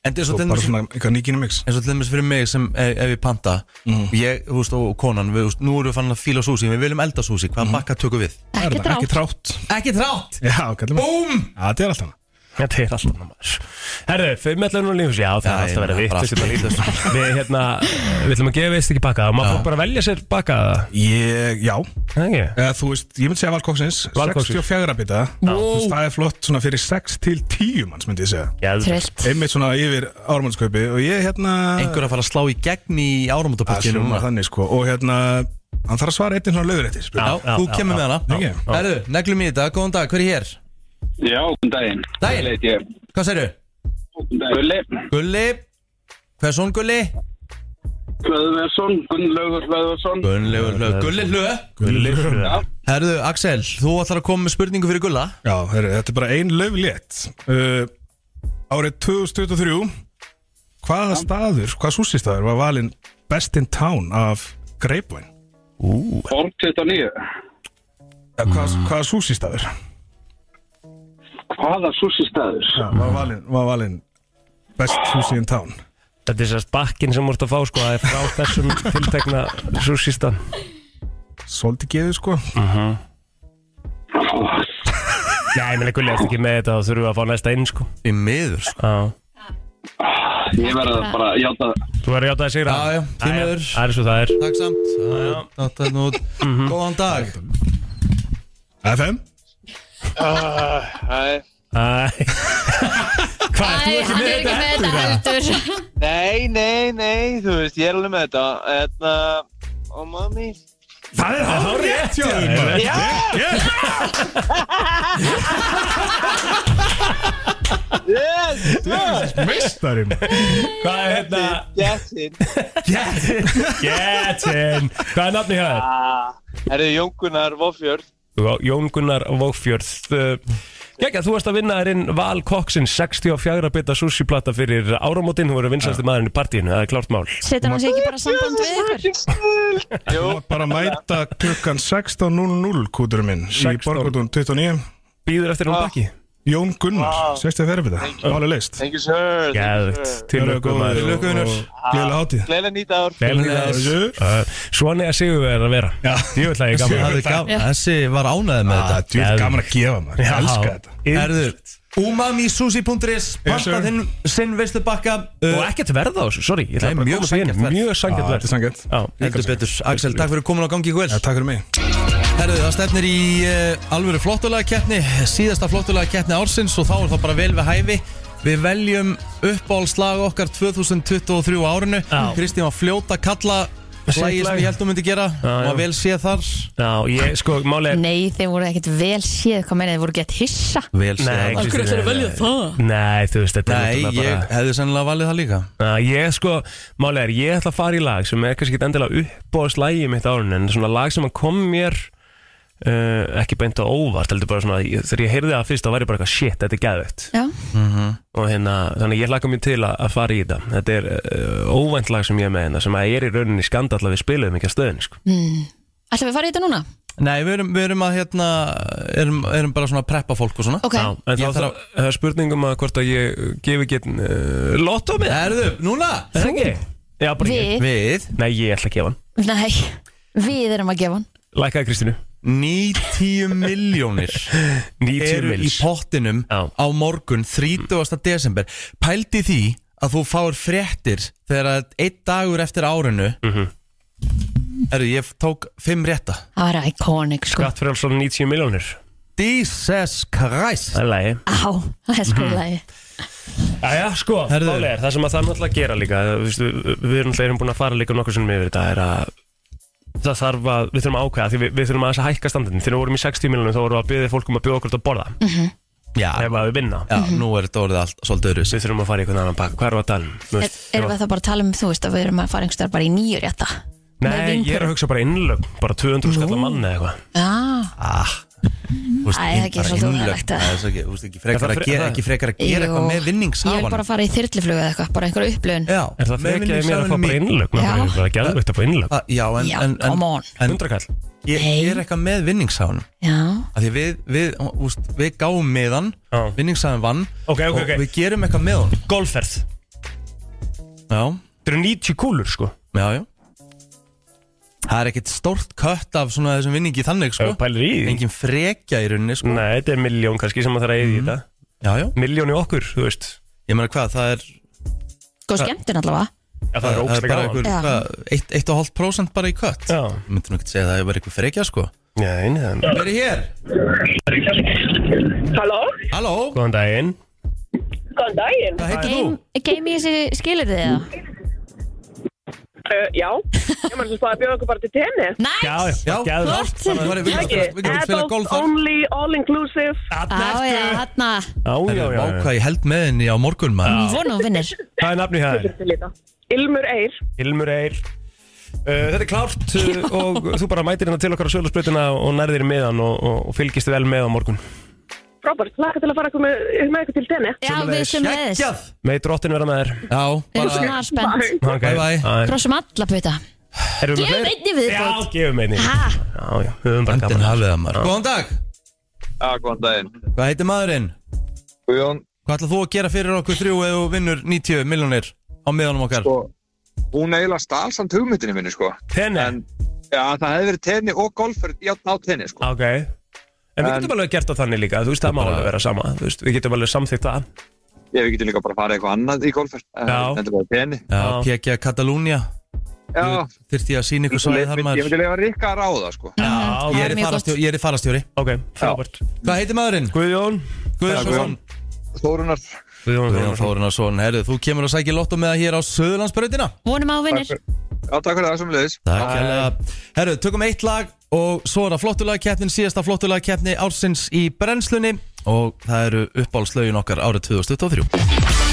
En eins
Og
og til
bara
dæmis-
svona eitthvað nýkinu mix
eins og til dæmis fyrir mig sem ef, ef ég panta Ég, þú veist, og konan, við, þú veist, nú erum við fann að fíla súsi Við viljum elda súsi, hvað bakka tökum við?
Það er
ekki
það,
drátt
Ekki trátt
Ekki trátt
Já, kallum við
Búm!
Já, þetta er allt hana
Þetta er alltaf annar maður Herðu, fimmellun og lífus, já það er
Já,
alltaf verið
ég meina,
vitt
bara
Við, við, hérna, við ætlum að gefa eist ekki baka og maður fór bara að velja sér baka
Ég, já,
það er ekki?
eða, þú veist, ég myndi segja valkoksins
Valkóksins.
64 bita Þú veist, Það er flott svona fyrir 6 til 10 manns myndi ég segja
Geðveikt.
Trillt
Einmitt svona yfir ármannskaupi og ég hérna
Einhver að fara að slá í gegn í
að
áramótapakkinu
hljóma þannig sko Og hérna, hann þarf að svara einnig svona lögur eftir
Já,
Já,
þú
já,
kemur
já.
með hana
Já.
Herru, neglum í þetta, góðan dag, hver er hér?
Já, góðan daginn.
Daginn.
Gulli heiti ég.
Hvað segirðu?
Gulli
Gulli Hversson Gulli?
Hlöðversson, Gunnlaugur Hlöðversson.
Gunnlaugur Hlöð Gulli Hlöð Herru, Axel, þú ætlar að koma með spurningu fyrir Gulla
Já, heru, þetta er bara ein lög létt uh, Árið 2023 Hvaða staður, hvaða súsistaður var valinn Best in Town af Greipvæn?
Borg 29.
Eh, Hvaða, hvaða súsistaður
Hvaða súsi staður?
var valinn var valin Best sushi in town
Þetta er sérst bakkin sem múrt að fá sko, það er frá þessum tiltekna súsista
Svolítið geðu sko
Já, ég meina gulli eftir ekki með þetta og þurfum við að fá næsta inn sko.
Í miður, sko
Já.
Ég verða bara að játa það.
Þú verður að játa að sigra
Já, já, því
Jæja,
miður.
Það er svo það er
Takk samt Þetta er nú Góðan dag
FM?
Æ,
Æ,
Æ, hann er ekki með þetta heldur
Nei, nei, nei, þú veist, ég er alveg með þetta Þetta, og mami
Það er hálf rétt hjá þér maður.
Já, yes, yes,
Meistarinn
Hvað er hérna?
yes it.
Get in Hvað er nafni hér?
Ah, Herðu Jónkunar Vofjörð
Jón Gunnar Vókfjörð Gekka, þú varst að vinna þér inn Val Coxin 64 bita sushiplata fyrir áramótin Þú voru vinsæsti maðurinn í partíinu, það er klárt mál
Setur hann sig ekki bara samband við ykkur
Þú mátt bara mæta klukkan 16.00 kúturum minn í
16.
Borgotún 29
Býður
Ah.
eftir hún bakki
Jón Gunnar, sérstu að ferða við það Máli leist
Thank you sir thank you,
Gæðvikt,
sir.
til lögum maður
Tilöku Gunnar Gleðilega hátíð
Gleðilega nýtt ár
Gleðilega
Eh, Svona er sigur verið að vera Ég vil að ég
Það
gaman
er gaman- Þessi var ánæðið með þetta
Það er gaman að gefa maður Ég elska þetta
Erður
Herðu, umamisushi.is Panta
sir.
þinn sinn veistu bakka
Og
uh,
ekkert verð á þessu, sorry ég
Nei,
ætla bara að
mjög
koma því inn.
sanngjarnt verð.
Mjög
Já,
sangjart
Þetta
verð
er sangett
Já,
Heldur betur, Axel, takk fyrir komin á gangi í kvöld
Takk fyrir mig
Herðu, það stefnir í uh, alvöru flottulega keppni Síðasta flottulega keppni ársins og þá er það bara vel við hæfi Við veljum uppáhaldslag okkar 2023 á árinu
Já.
Kristín var fljóta kalla
Sitt
Lægi sem
lag.
ég heldum myndi gera
Já,
Og
já.
vel sé þar
Já, ég sko, máli er
Nei, þeir voru ekkert vel séð hvað meina, þeir voru gett hissa
Vel
Nei,
þar
Kristín, nei, nei. Nei, þú veist, þetta
Nei,
er náttúrulega bara
ég hefði sennilega valið það líka
Já, ég sko, málega er, ég ætla að fara í lag sem er kannski ekki endilega uppbóðast lagi mitt árun en svona lag sem að kom mér uh, ekki beint á óvart heldur bara svona, ég, þegar ég heyrði það fyrst þá var ég bara eitthvað shit, þetta er geðveikt
Já,
og hérna, þannig ég hlaka mér til að, að fara í þetta þetta er uh, óvænt lag sem ég er með hérna sem að er í rauninni skandall að við spilum ekki að stöðin sko.
ætlum við að fara í þetta núna?
Nei, við erum, við erum að hérna erum, erum bara svona að preppa fólk og svona
Ok,
Já, en þá
Ég þarf
þarf það er spurning um að hvort að ég gefi ekki uh, lotto með
Herðu, núna
það ekki? Já, bara ég
við,
Við
Nei, ég ætla að gefa hann
nei, við erum að gefa hann
Lækaði Kristínu
90 miljónir
90
eru í
mils
pottinum
Já.
á morgun 30. desember pældi því að þú fáir fréttir þegar að einn dagur eftir árinu Herru, ég tók 5 rétta
Það var iconic sko
Skatt fyrir alls 90 miljónir
Jesus Christ
Það er lægi
Á, það er
Mhm.
sko lagi
Jæja, sko,
Herðu.
málið er, það sem að það er náttúrulega að gera líka þú veist, við, við erum náttúrulega erum búin að fara líka nokkur sinnum yfir þetta er að það þarf að, við þurfum að ákveða því við, við þurfum að þess að hækka standardin þegar við vorum í 60 miljonum þá vorum við að byggja fólkum að byggja okkur til að borða
Mhm.
Já,
ef að við vinna
já nú er þetta orðið allt svolítið öðru
við þurfum að fara í einhvern annan pakk, hvað er að tala um? Þú
Er-
veist,
Erum
ef að-
við þá bara að tala um, þú veist, að við erum að fara einhverstaðar bara í nýju rétta með
Nei, ég er
vinkonum?
að hugsa bara innlögn, bara 200 skall á mann eða eitthvað
Já,
ah, úst,
Æ, það er ekki svolítið óþægilegt,
Það
að-
er svo ekki, úst, ekki frekar
Það
að
fre-
gera,
það-
ekki frekar að gera eitthvað
Jú,
með
Ég vil
vinningshafann
bara fara í þyrliflugu eða eitthvað, bara einhverja upplöfun
Já,
Er það
með
frekjaði mér að fá bara
vinningshafanum í-
innlögn?
Já.
Það er bara gæðvögt að fá innlögn
Ah, Já, en,
Já,
en, en,
come on.
en
100 kall
ég, ég er eitthvað með vinningshafanum
Já,
Af því við, við, úst, við gáum meðan
Já.
vinningsaðin vann
Ok, ok,
og
ok.
við gerum eitthvað með hann
Golfferð,
já,
þetta eru 90 kúlur sko
já, já það er ekkit stórt kött af svona þessum vinningi þannig
Ef
sko
þú pælir í því
engin frekja í rauninni sko Mhm.
Nei, þetta er miljón kannski sem að það er að eyða í þetta
já, já.
miljón í okkur, þú veist
Ég meina hvað, það er
Góð skemmtun allavega
Já, það er ógeðslega
bara
gaman.
einhver,
Já.
hvað, eitt, eitt og hálft prósent bara í kött
Já.
Ég myndi nú ekki segja að það, ég var eitthvað frekja sko
Nei, neðan
Verið hér
Halló,
Halló
Góðan daginn
góðan daginn.
Hvað heitir þú?
Game, game í þessi skilitið eða?
Uh, já, ég maður sem spáði að bjóða okkur bara til tennis.
Nice!
Já, já,
Já,
geðveikt.
Flott.
Það var- við getum
Ekki,
spila- við getum spila golf
adult
þar
only, all inclusive.
Já, já, hérna
Já,
Það er
já, já, já.
vákvað í held með henni á morgun maður
Vona hún vinnir
Hvað er nafnið það?
Til líka. Ilmur Eir.
Ilmur Eir Uh, þetta er klárt uh, og þú bara mætir hérna til okkar á sölusbreytina og nærðir í miðan og, og, og fylgist vel með á morgun.
Robert, laka til að fara okkur með, með eitthvað til tennis.
Já, við sem leðis
Geggjað
Með drottin vera með þér.
Já,
Við erum
bara
svona spennt
Okay.
Bye, bye.
Krossum alla puta
Erum við með
Gefum
fleiri?
einni
Já,
viðbót
gefum einni.
Ha?
Já, já, við höfum bara
Andin
gaman.
hafið það maður Góðan dag
Já, góðan daginn.
Hvað heitir maðurinn?
Guðjón,
Hvað ætlað þú að gera fyrir okkur þrjú ef þú vinnur 90 miljónir á miðanum okkar?
sko, hún eiginlega stál samt hugmyndinni minni, sko.
Tenni.
En, já, það hefði verið tenni og golfur játn á tenni, sko.
Ok. En við
En-
getum alveg gert það þannig líka, þú veist, það má alveg vera sama, þú veist, við getum alveg samþýtt það.
Ég við getum líka bara að fara eitthvað annað í golfur.
Já.
Þetta er bara tenni.
Já,
Já.
PG Katalúnia
Já.
Þyrfti ég að sína ykkur
Ég
svæði
myndi-
þar
ég
maður
myndi lega Rikka að ráða, sko.
Mhm.
Já,
Ég
Það
er
er
í
mjög
farastjó-
gott.
ég er í farastjóri
ok, frábært.
Hvað heitir maðurinn?
Guðjón.
Guðjónsson
Guðjón. Þórunar.
Guðjón,
Guðjón
Guðjón.
Þórunarsson, herðu, þú kemur og sækir lottum með það hér á Söðurlandsbrautina
Vonum að hún vinnir
Já, takk fyrir það sem leiðis.
Takk hérlega Herru, tökum eitt lag og svo er það flottulagkeppnin síðasta flottulagkeppni ársins í brennslunni og það eru uppáhaldslögin okkar árið 2023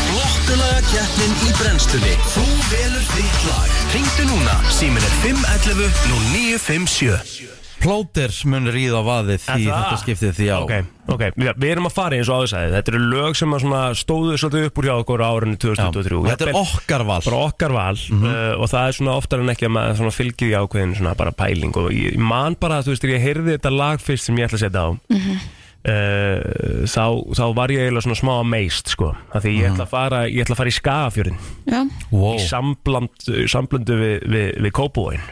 Flottulaga keppnin í brennstunni Þú velur þitt lag Ringdu núna, símin er 511 0957
Plóter mun ríða á vaðið
Er
í
það?
þetta skiptið því á
Ok, ok, Já, við erum að fara eins og aðeinsæði, þetta eru lög sem að svona stóðu svolítið upp úr hjá okkur á árunni
Já,
2023.
Þetta er
Jafnvel-
okkar val Mhm.
bara okkar val uh, og það er svona oftar en ekki að maður svona fylgir í ákveðin svona bara pæling og ég, ég man bara að þú veist þegar ég heyrði þetta lag fyrst sem ég ætla að setja á uh, þá, þá var ég eiginlega svona smá meist sko af því ég
Mhm.
ætla að fara, ég ætla að fara í skafjörðin
Já,
wow.
í sambland, samblöndu við, við, við kópúin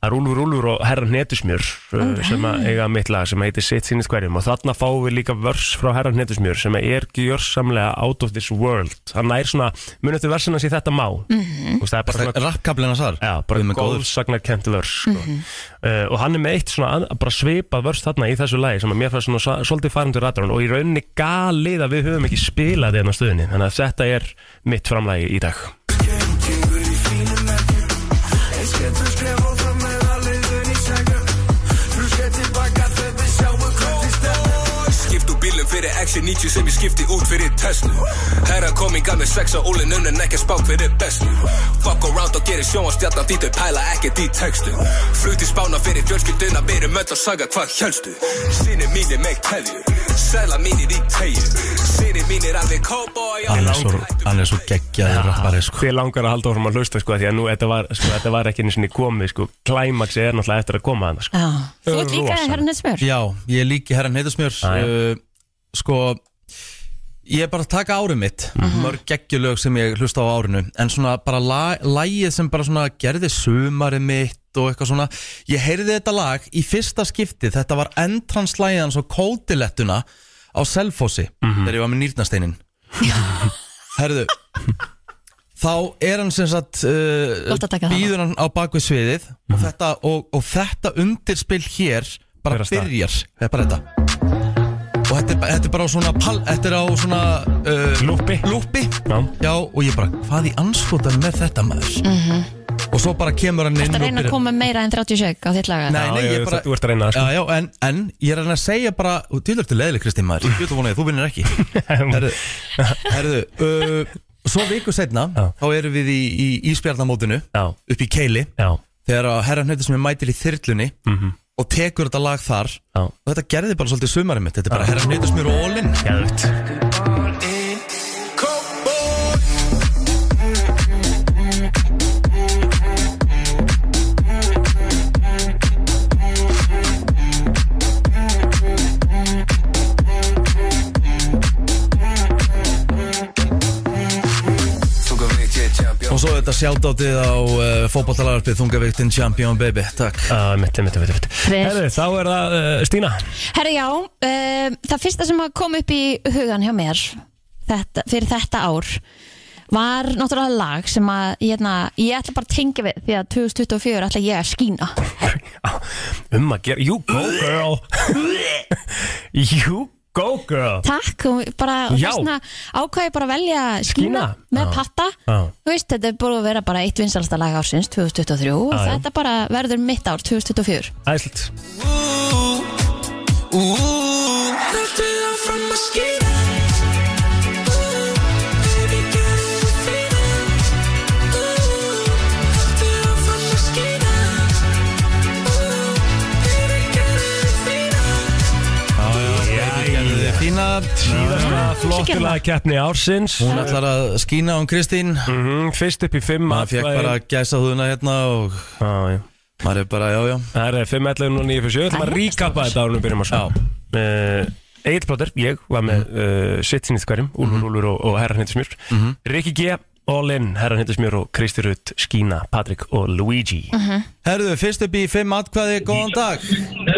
það er Úlfur Úlfur og Herra Hnetusmjör uh, sem að eiga mitt lag sem heitir Sitt sinnið hverjum og þarna fáum við líka vörs frá Herra Hnetusmjör sem er gjörsamlega out of this world hann nær svona, munið eftir versina sér þetta má mm -hmm. það er bara svona
Rappkablina sar
Já, bara
Guð minn góður.
góðsagnarkent vörs sko. uh, og hann er með eitt svona að, bara svipað vörs þarna í þessu lagi sem að mér fannst svona sa- svolítið farandur ratarun og í rauninni galið að við höfum ekki spilað þetta á stöðinni þannig að þetta er mitt framlagi í dag
Skiptu bílum fyrir X90 sem ég skipti út fyrir Tesla Herra koming að með sex á ólinn unnum ekki að spák fyrir bestu Fuck around og gerir sjónvarstjarnan því þau pæla ekkert í textu Flutti spána fyrir fjölskylduna, við erum öll að saga hvað hélstu Sinni mínir með keðju, sæla mínir í tegju Sinni mínir alveg cowboy
Hann er svo, hann er svo geggjaður rappari sko.
Hver langar að halda áfram að hlusta sko, því að nú þetta var, sko, þetta var ekki einu sinni komið sko, klæmaksi er náttúrulega eftir að koma hann sko.
já Þú ert líka
Rosa.
hérna smör
Já, ég er líki herran heitasmjör
Já, já.
uh, Sko Ég er bara að taka árið mitt
Mhm.
Mörg geggjulög sem ég hlusta á árinu En svona bara la- lagið sem bara svona Gerði sumarið mitt og eitthvað svona Ég heyrði þetta lag í fyrsta skipti Þetta var entranslæðan svo kótilettuna Á Selfossi
Mhm.
Þegar ég var með nýrnasteinin Herðu Þá er hann sem sagt
Gott að taka
uh,
það.
Býður hann á bakvið sviðið og,
Mhm.
þetta, og, og þetta undirspil hér Bara
Fer af stað.
byrjar Það er bara þetta Og þetta er, ba- þetta er bara á svona pal, Þetta er á svona uh,
Lúppi.
lúppi
Já.
Já og ég bara Hvað í anskotan með þetta maður Og svo bara kemur hann inn
Það
og
reyna Mhm. að
byrjar-
koma meira en 30 sjögg á þitt laga
Nei,
Já,
nei,
ég
ég
veit
bara
að þú ert að reyna það, sko.
Já, já, en, en ég er að reyna að segja bara Þú er til leðileg, Kristín maður Ég veit að vonaði, þú vinnir ekki Herðu, herðu uh, Svo viku setna,
Já.
þá erum við í, í Ísbjarnamótinu
Já,
Upp í Keili
já,
Þegar að herran hnöytur sem er mætir í þyrlunni Og tekur þetta lag þar
Mhm. Já.
Og þetta gerði bara svolítið sumarið mitt Þetta er bara herran hnöytur sem er ólinn
geðvitt
Og
Og svo er auðvitað sjátátið á uh, fótballtalarpið Þungavíktin Champion Baby, takk
uh, Mitti, mitti, mitti, mitti
Herðu,
þá er það uh, Stína
Herra já, um, það fyrsta sem að kom upp í hugan hjá mér þetta, fyrir þetta ár var náttúrulega lag sem að ég, hérna, ég ætla bara að tengja við því að 2024 ætla ég að skína
Um að gera, you go girl You go girl
Takk, og bara og
Já.
þess vegna ákvæði bara að velja skína,
Skína?
með
Já.
patta
Já.
Þú veist, þetta er búið að vera bara eitt vinsalsta lag ársins 2023 og
Já, já.
þetta bara verður mitt ár 2024
Æsland
Fína
Síðasta
flottulega
flottulega keppni ársins
Hún ætlar að skína hún Kristín
mm -hmm, Fyrst upp í fimm
Maður fekk
atkvæði.
bara gæsa húðuna hérna og
ah,
maður er bara, já, já
Það er eh, 5, 11 og 9 fyrir 7 Það er ríkappa þetta árunum byrjum að sko Egil Plóter, ég var með uh, sitt sinnið hverjum Úlfur, Úlfur og, og herran hittir smjör
Mhm.
Rikki G, All In, herran hittir smjör og Kristi Rutt, Skína, Patrik og Luigi
Mhm.
Herðu, fyrst upp í fimm atkvæði, góðan dag
Góðan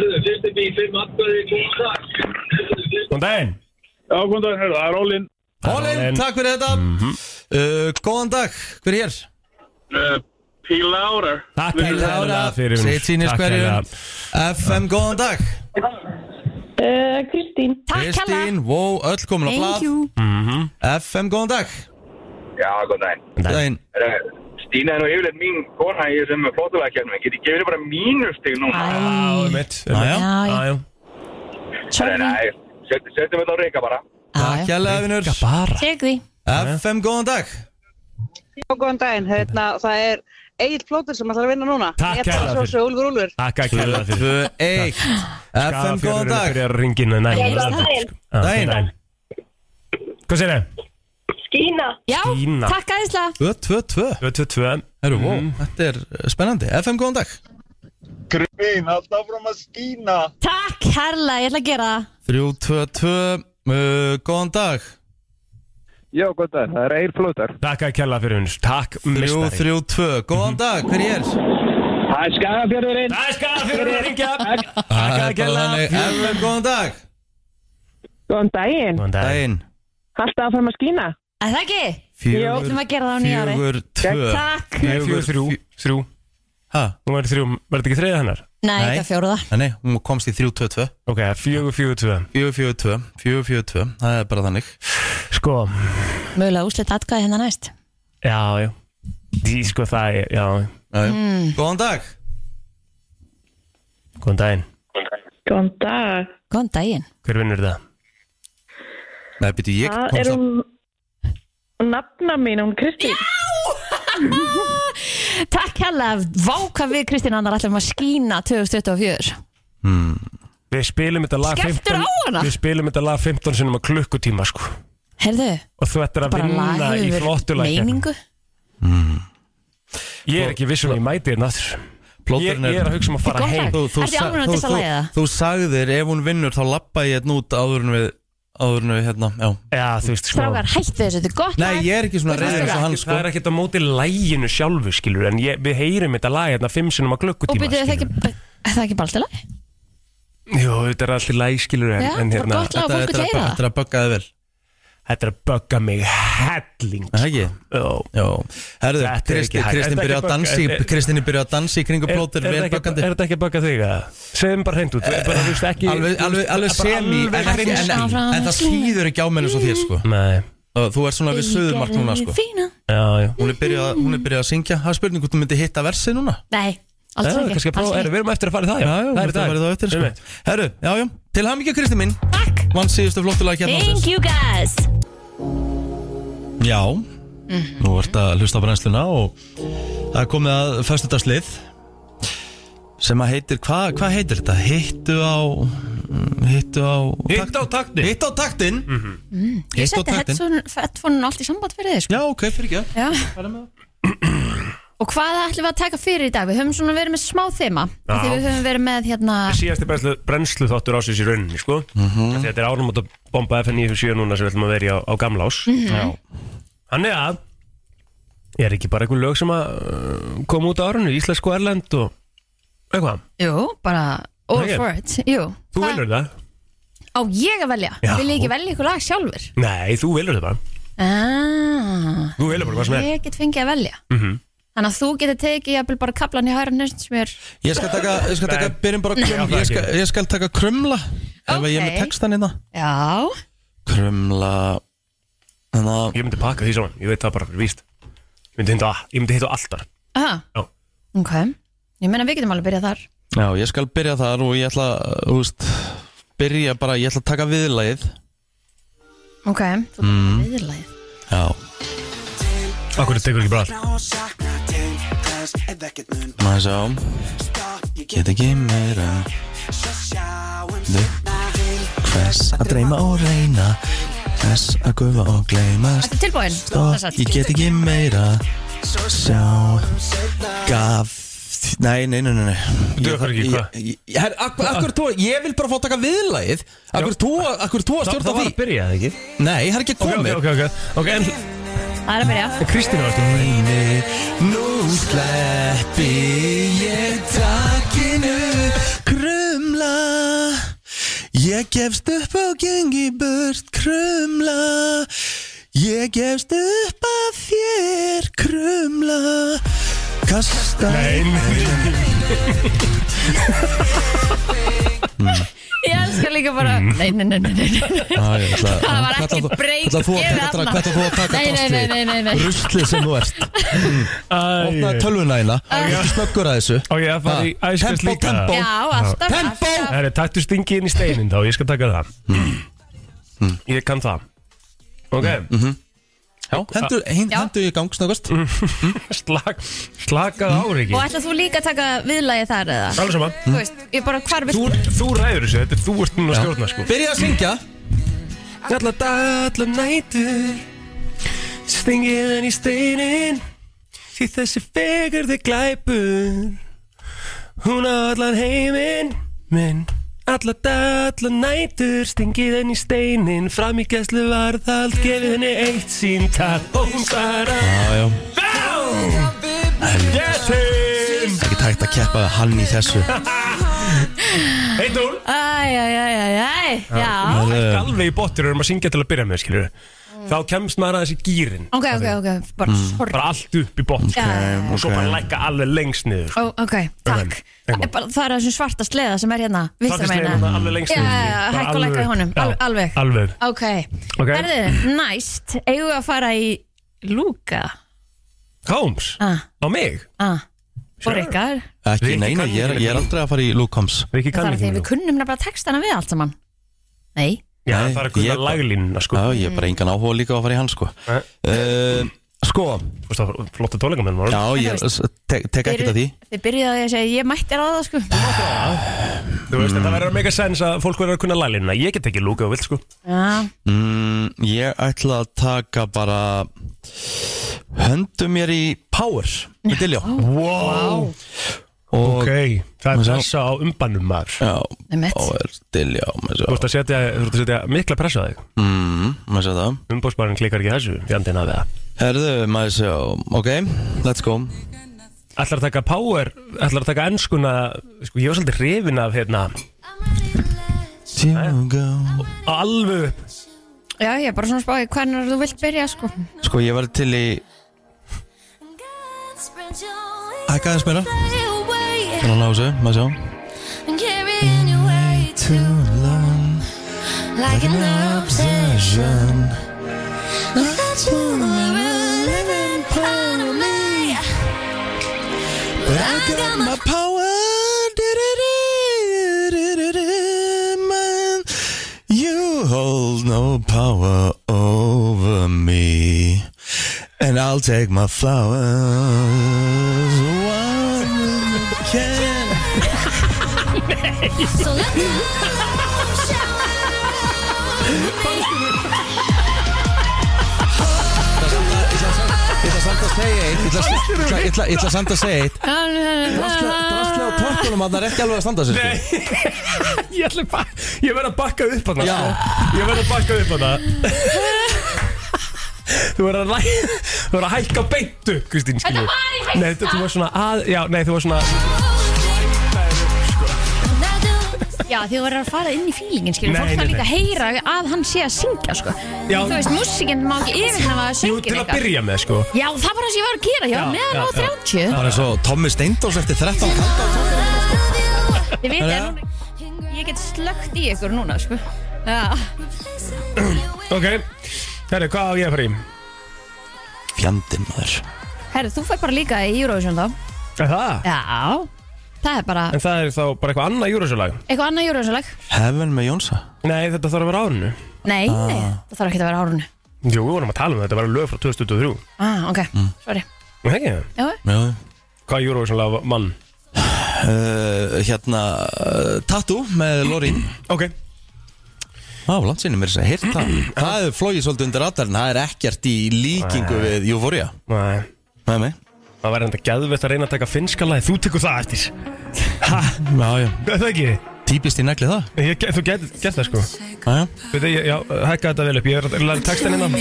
daginn
Já, góðan daginn, herra, það er Ólin
Hólin, takk fyrir þetta
Mhm.
uh, Góðan dag, hver er hér?
uh, Píl Lára
Takk
Lára, sitt sýnist hverjum FM, góðan dag
Eh, Kristín
Kristín, wow, öll komin á
Thank
blad
you.
Mm.
FM, góðan dag
Já, góðan daginn.
Daginn.
Herra, Stína er nú yfirleitt mín kona í þessum flottulegakefnum. Ég geti gefið henni bara mínustig núna.
Það er mitt Jájá
Sorry. Nei, set- setjum þetta á reyka bara.
Takk hérlega, vinnur
Tek því
FM, góðan dag
Já, góðan daginn, hérna, það er Egil Plóter sem ætlar að vinna núna
Takk
Ég ætla
kærlega
að svo svo Úlfur Úlfur
Takk að kella fyrir
2-1 FM, góðan dag
Fyrir að ringinu Nei,
Góðan
það er
daginn.
allt, sko. Já,
Daginn.
daginn. Hvað sér það?
Skína
Já,
Skína.
takk aðeinslega
2-2-2
2-2-2
Herru,
Mhm.
wow, þetta er uh, spennandi FM, góðan dag
Grín, halda áfram að skína
Takk herrlega, ég ætla að gera það
3-2-2 uh, Góðan dag
Já, gott að það er Eir Flóter
Takk að kella fyrir hún Takk, mistari
3-3-2 Góðan
Mhm.
dag, hver er
Það er skagafjörðurinn
Það er skagafjörðurinn að ringja
Það
að
er bara
kella.
þannig. FM, góðan dag
Góðan daginn
Góðan
Daginn
Halda áfram að skína
Það ekki?
Fjögur-
Jó, ætlum að gera það á nýja ári
Fjögur, tvö
Takk.
Nei, fjögur, þrjú Þrjú
Hæ?
Nú er þrjú Verður ekki þriðið hennar?
Nei, þetta er fjóruða
Nei, Nei, hún komst í 3-2-2
Ok, 4-4-2
4-4-2 4-4-2 Það er bara þannig
Sko
Mögulega úslit atkvæði hérna næst
Já, já Því sko það er Já
Mm.
Góðan dag
Góðan daginn
Góðan dag
Góðan daginn
Hver vinnur það?
Nei, byrju
Það er um Nafna mín, hún Kristín
Takk hérlega, váka við Kristín Annar ætlum að skína 2024
Við spilum þetta lag
Skelltur
15
á hana?
Við spilum þetta lag 15 sinum að klukkutíma sko
Herðu,
Og þú ættir að
bara
vinna
lag
í
hefur
flottulækja
meiningu
Ég er ekki vissum að ég mæti þetta aftur Ég
Plóterinn
ég er að hugsa um að fara heim
Þú- þú
Ertu í
sa-
alvöru að
þú-
dissa
þú-
lagið það?
Þú sagðir ef hún vinnur þá lappa ég hérna út áður en við áður en við hérna, já
Já, þú veist sko.
Strákar, hættu þessu, þetta er gott
Nei,
lag.
ég er ekki svona
Þú veist
reiður eins og
það.
hann sko
Það er ekkert á móti læginu sjálfu skilur En ég, við heyrim þetta lag hérna 5 sinum að
Og
klukkutíma
byrju, er það
skilurðu.
ekki, er það ekki bara alltaf lag?
Jú, þetta er alltaf læg skilur en,
Já,
en
bara
hérna
gott lag og fólk vill heyra það.
Þetta er að bögga þig vel
Þetta er að bögga mig helling sko.
Það ekki?
Já
Herðu,
Þetta er ekki
Kristi-
hægt. Er
Kristín
þetta
byrja að
ekki bögga-
dansi
er- er-
Kristín er byrja að dansi í kringum
Er-
plótir
er
vel
þetta ekki-
böggandi
Er þetta ekki að bögga þig að Segðum bara hreint út eh, bara, þú veist, ekki,
Alveg,
þú
alveg,
veist,
alveg
bara
semi en,
alveg
ekki, en,
hreint.
en, en það síður ekki á mér eins og þér sko
Nei
Þú ert svona við söðumark núna sko
Fína.
Já, já
Hún er byrjað hún er byrjað að syngja Það er spurning hvort þú myndi hitta versi núna
Nei,
Já,
alltaf ekki
kannski að
alls
prófa-
ekki.
er- við erum eftir að fara í það, já. Það er í dag. Einmitt. sko. Herru, já, já, til hann ekki Kristi mín
Takk
Vann síðustu flottulega hérna
Thank you guys
Já,
Mhm.
nú ert að hlusta á brennsluna og það er komið að föstudagslið sem að heitir, hvað hva heitir þetta? Hittu á mm, Hittu á Hittu á taktin Hittu á taktin
Mhm. Mm. Ég
Hittu á
setti
taktin
headphone allt í samband fyrir þig sko.
Já, ok, fyrir ekki
Já. Og hvað ætlum við að taka fyrir í dag? Við höfum svona verið með smá þema
Já.
Þegar við höfum verið með hérna
síðasti brennslu, brennslu þáttur ásins í rauninni sko. mm -hmm. þetta er árnum að bomba FN 97 núna sem við ætlum að vera í á, á gamla ás
Mhm. Já.
hann er að Er ekki bara einhver lög sem að uh, kom út á árunni, íslensku og erlend og eitthvað?
Jú, bara all
Nei, ég-
for it Jú,
Þú velur það?
á ég að velja
Já.
Vil ég ekki velja ykkur lag sjálfur?
Nei, þú velur það bara.
Ah,
Þú velur bara hvað sem er.
ég get fengið að velja
Mm
Þannig að þú getur tekið jafnvel bara kaplan í hæra nöst sem er
Ég skal taka, ég skal taka, byrjum bara
Nei.
krumla
Já, það
ég, skal,
ekki.
ég skal taka krumla Ef að ég er með
Ok.
textan hérna
Já,
Krumla Þannig að
Ég myndi pakka því saman, ég veit það bara fyrir víst. Ég myndi hitta, ég myndi hitta alltaf.
aha,
Já.
ok Ég meina við getum alveg byrjað þar
Já, ég skal byrja þar og ég ætla Þú veist, byrja bara Ég ætla að taka viðlagið
Ok,
Mm.
þú mm. viðlagið
Já
Akkur tekur ekki bara allt
Má ég sjá Get ekki meira Du Hvers að dreyma og reyna Hvers að gufa og gleymast
Ertu tilbúin?
Stopp, ég get ekki meira Sjá Gaf Nei, nei, nei, nei, nei
Þú akkur ekki, hvað?
Her, akkur, akkur þú, ég vil bara fá að taka viðlagið Akkur þú, akkur þú að
Það
stjórna
það var
því
að byrja, eða ekki?
Nei, það er ekki komið
Ok, ok, ok, ok, en
Það er að byrja
Kristín var þetta
Reyni, nú sleppi ég takinu Krumla Ég gefst upp og gengi burt Krumla Ég gefst upp af þér Krumla Kasta Nei,
Ég elskar líka bara Nei, nei, nei, nei, nei, nei.
ah,
Það var ekkert break gefið þarna.
Hvað ætla þú að taka
Nei, nei,
drast við?
nei, nei, nei.
Ruslið sem þú ert Opnaði tölvuna eina Snöggur að þessu
Ok, það fari í
Ha,
æskast
tempo,
líka
tempo.
Já, alltaf,
Tempo!
alltaf
Það er tættu stingið inn í steinin þá, ég skal taka það Ég kann það Ok
Já, Mm. hendur, hendur, hendur í gang snöggast
Slag, Slakað á, Riki
Og ætlað þú líka að taka viðlagið þar eða?
Alveg sama.
Þú veist, ég bara hvar vilt
Þú, þú ræður þessu, þetta er þú ert núna að stjórna sko
Byrja að syngja
Alla dag, alla nætur Stingið inn í steinin Því þessi fegur þig glæpur Hún á allan heiminn minn Alla dag, alla nætur Stingið henni í steinin Fram í gæslu varðald Gefið henni eitt síntal Og hún bara
Já, já
Getinn
Ekki tækt að keppa hann í þessu
Eitt úr
Æj, æj, æj, æj, æj Já
Það er alveg í bottur Erum að syngja til að byrja með, skilur Þá kemst maður aðeins í gýrin
Ok, ok, ok, bara
Mm.
sorry
Bara allt upp í botn
Já, já, já.
Og svo bara lækka alveg lengst niður
Ó, Ok, takk Það er bara- það er þessum svarta sleða sem er hérna Vistra
Svarta sleða
meina
hérna, alveg lengst
Já,
niður.
já, já,
Bara
hækka og lækka í
alveg-
honum
Já,
Al- Alveg
alveg.
Ok,
Ok.
herðu, næst Eigum við að fara í Lúka
Holmes,
Ah,
á mig
ah Og Rikar
Ekki, nei, nei, ég er, ég er aldrei að fara í sko. Luke Combs
Riki
Það er því við kunnum nefnilega textana við allt saman Nei
Já, það er að kunna laglínuna sko
Já, ég er bara engan áhuga líka á að fara í hann sko uh, Sko
Flotta tónleika með hann
Já, ég s- tek, tek ekki þetta því
Þið byrjaði að segja ég mættir á það sko
Þú veist, þetta verður að mega sens að fólk verður að kunna laglínuna Ég get ekki lúkað og vilt sko
Já,
mm, Ég ætla að taka bara Höndu mér í Power Með Diljó
Wow
Og
Ok, það er
Sjá.
pressa á umbannum maður
Já,
Einmitt.
Power, Diljó Þú
Þú ert að setja, þú ert að setja mikla pressa á þig
Mm, maður sé það
Umbóðsbarinn klikkar ekki þessu, fjandinn að það
Herðu, maður sé Ok, let's go
Ætlar að taka power, ætlar að taka ennskuna Sko, ég var svolítið hrifin af hérna
Here we go
Alveg upp
já ég er bara svona spáði hvernig þú vilt byrja sko
Sko ég var til í Hækka aðeins meira Þannig að ná þessu, maður sjá
Like an obsession That you are a living part of me But I got my power
Man, You hold no power over me And I'll take my flowers One can Ég ætla samt að segja eitt Ég ætla- ég ætla- ég ætla- Ég ætla samt að segja eitt Drastlega á tóttunum að það er ekki alveg að standa sig sko.
Ég ætla bara, sko. ég verð að bakka upp hann
Já.
Ég verð að bakka upp hann Þú verður að, læ... þú verður að hækka beintu, Kristín, skilju.
Þetta var í hæsta.
Nei, þetta- þú var svona að... Já, nei, þú var svona...
Já, því þú verður að fara inn í fílingin, skilur
Nei,
Fólk
nei,
þarf líka
nei.
að heyra að hann sé að syngja, sko
Já.
Þú veist, músikinn má ekki yfirnafa að
Jú,
syngja
til að byrja með, sko.
Já, það var það sem ég var að gera, já,
Já,
meðan
já,
á
já.
30
Það er svo Tommi Steindós eftir 13 kanta
Þið veit
Já.
að núna Ég get slögt í ykkur núna, sko Já,
Ok, herri, hvað á ég að fara í?
Fjandinn maður
herru, þú fær bara líka í Eurovision þá
Er það?
Já, það er bara
En það er þá bara eitthvað annað júrasjólag?
Eitthvað annað Eurovision-lag?
Heaven með Jónsa
Nei, þetta þarf að vera árinu
Nei, nei, það þarf ekki að vera árunni
Jú, við vorum að tala um þetta, þetta var lög frá 2023
Ah, ok, sorry
Nei, það ekki
Já,
Já.
Hvað júrasjólag mann?
Uh, hérna uh, Tattoo með Lorín
Ok
Á, landsinni mér sem heyrt það Það er flóið svolítið undir radarinn Það er ekkert í líkingu
Nei.
við Euphoria
Nei
Nei, nei
Það væri enda gæðvett að reyna að taka finnska lagi Þú tekur það eftir
Já, já
Er það ekki?
Típist í negli það
Ég, ge- þú gætt get það sko
Já,
Við þið, já, hækka þetta vel upp Ég er að læra hérna. textin innan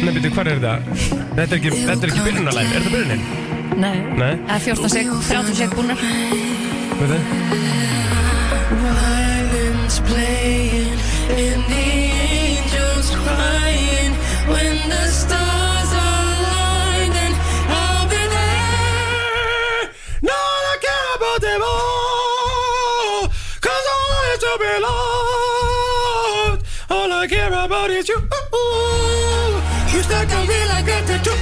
Nei, byrju, hvað er þetta? Þetta er ekki, þetta er ekki byrjunalæg Er þetta byrjunin?
Nei,
Nei,
það er 14 sek, 30 sek búnar
við þið Not I care about them all Cause I want it to be loved All I care about is you You stuck on me like a tattoo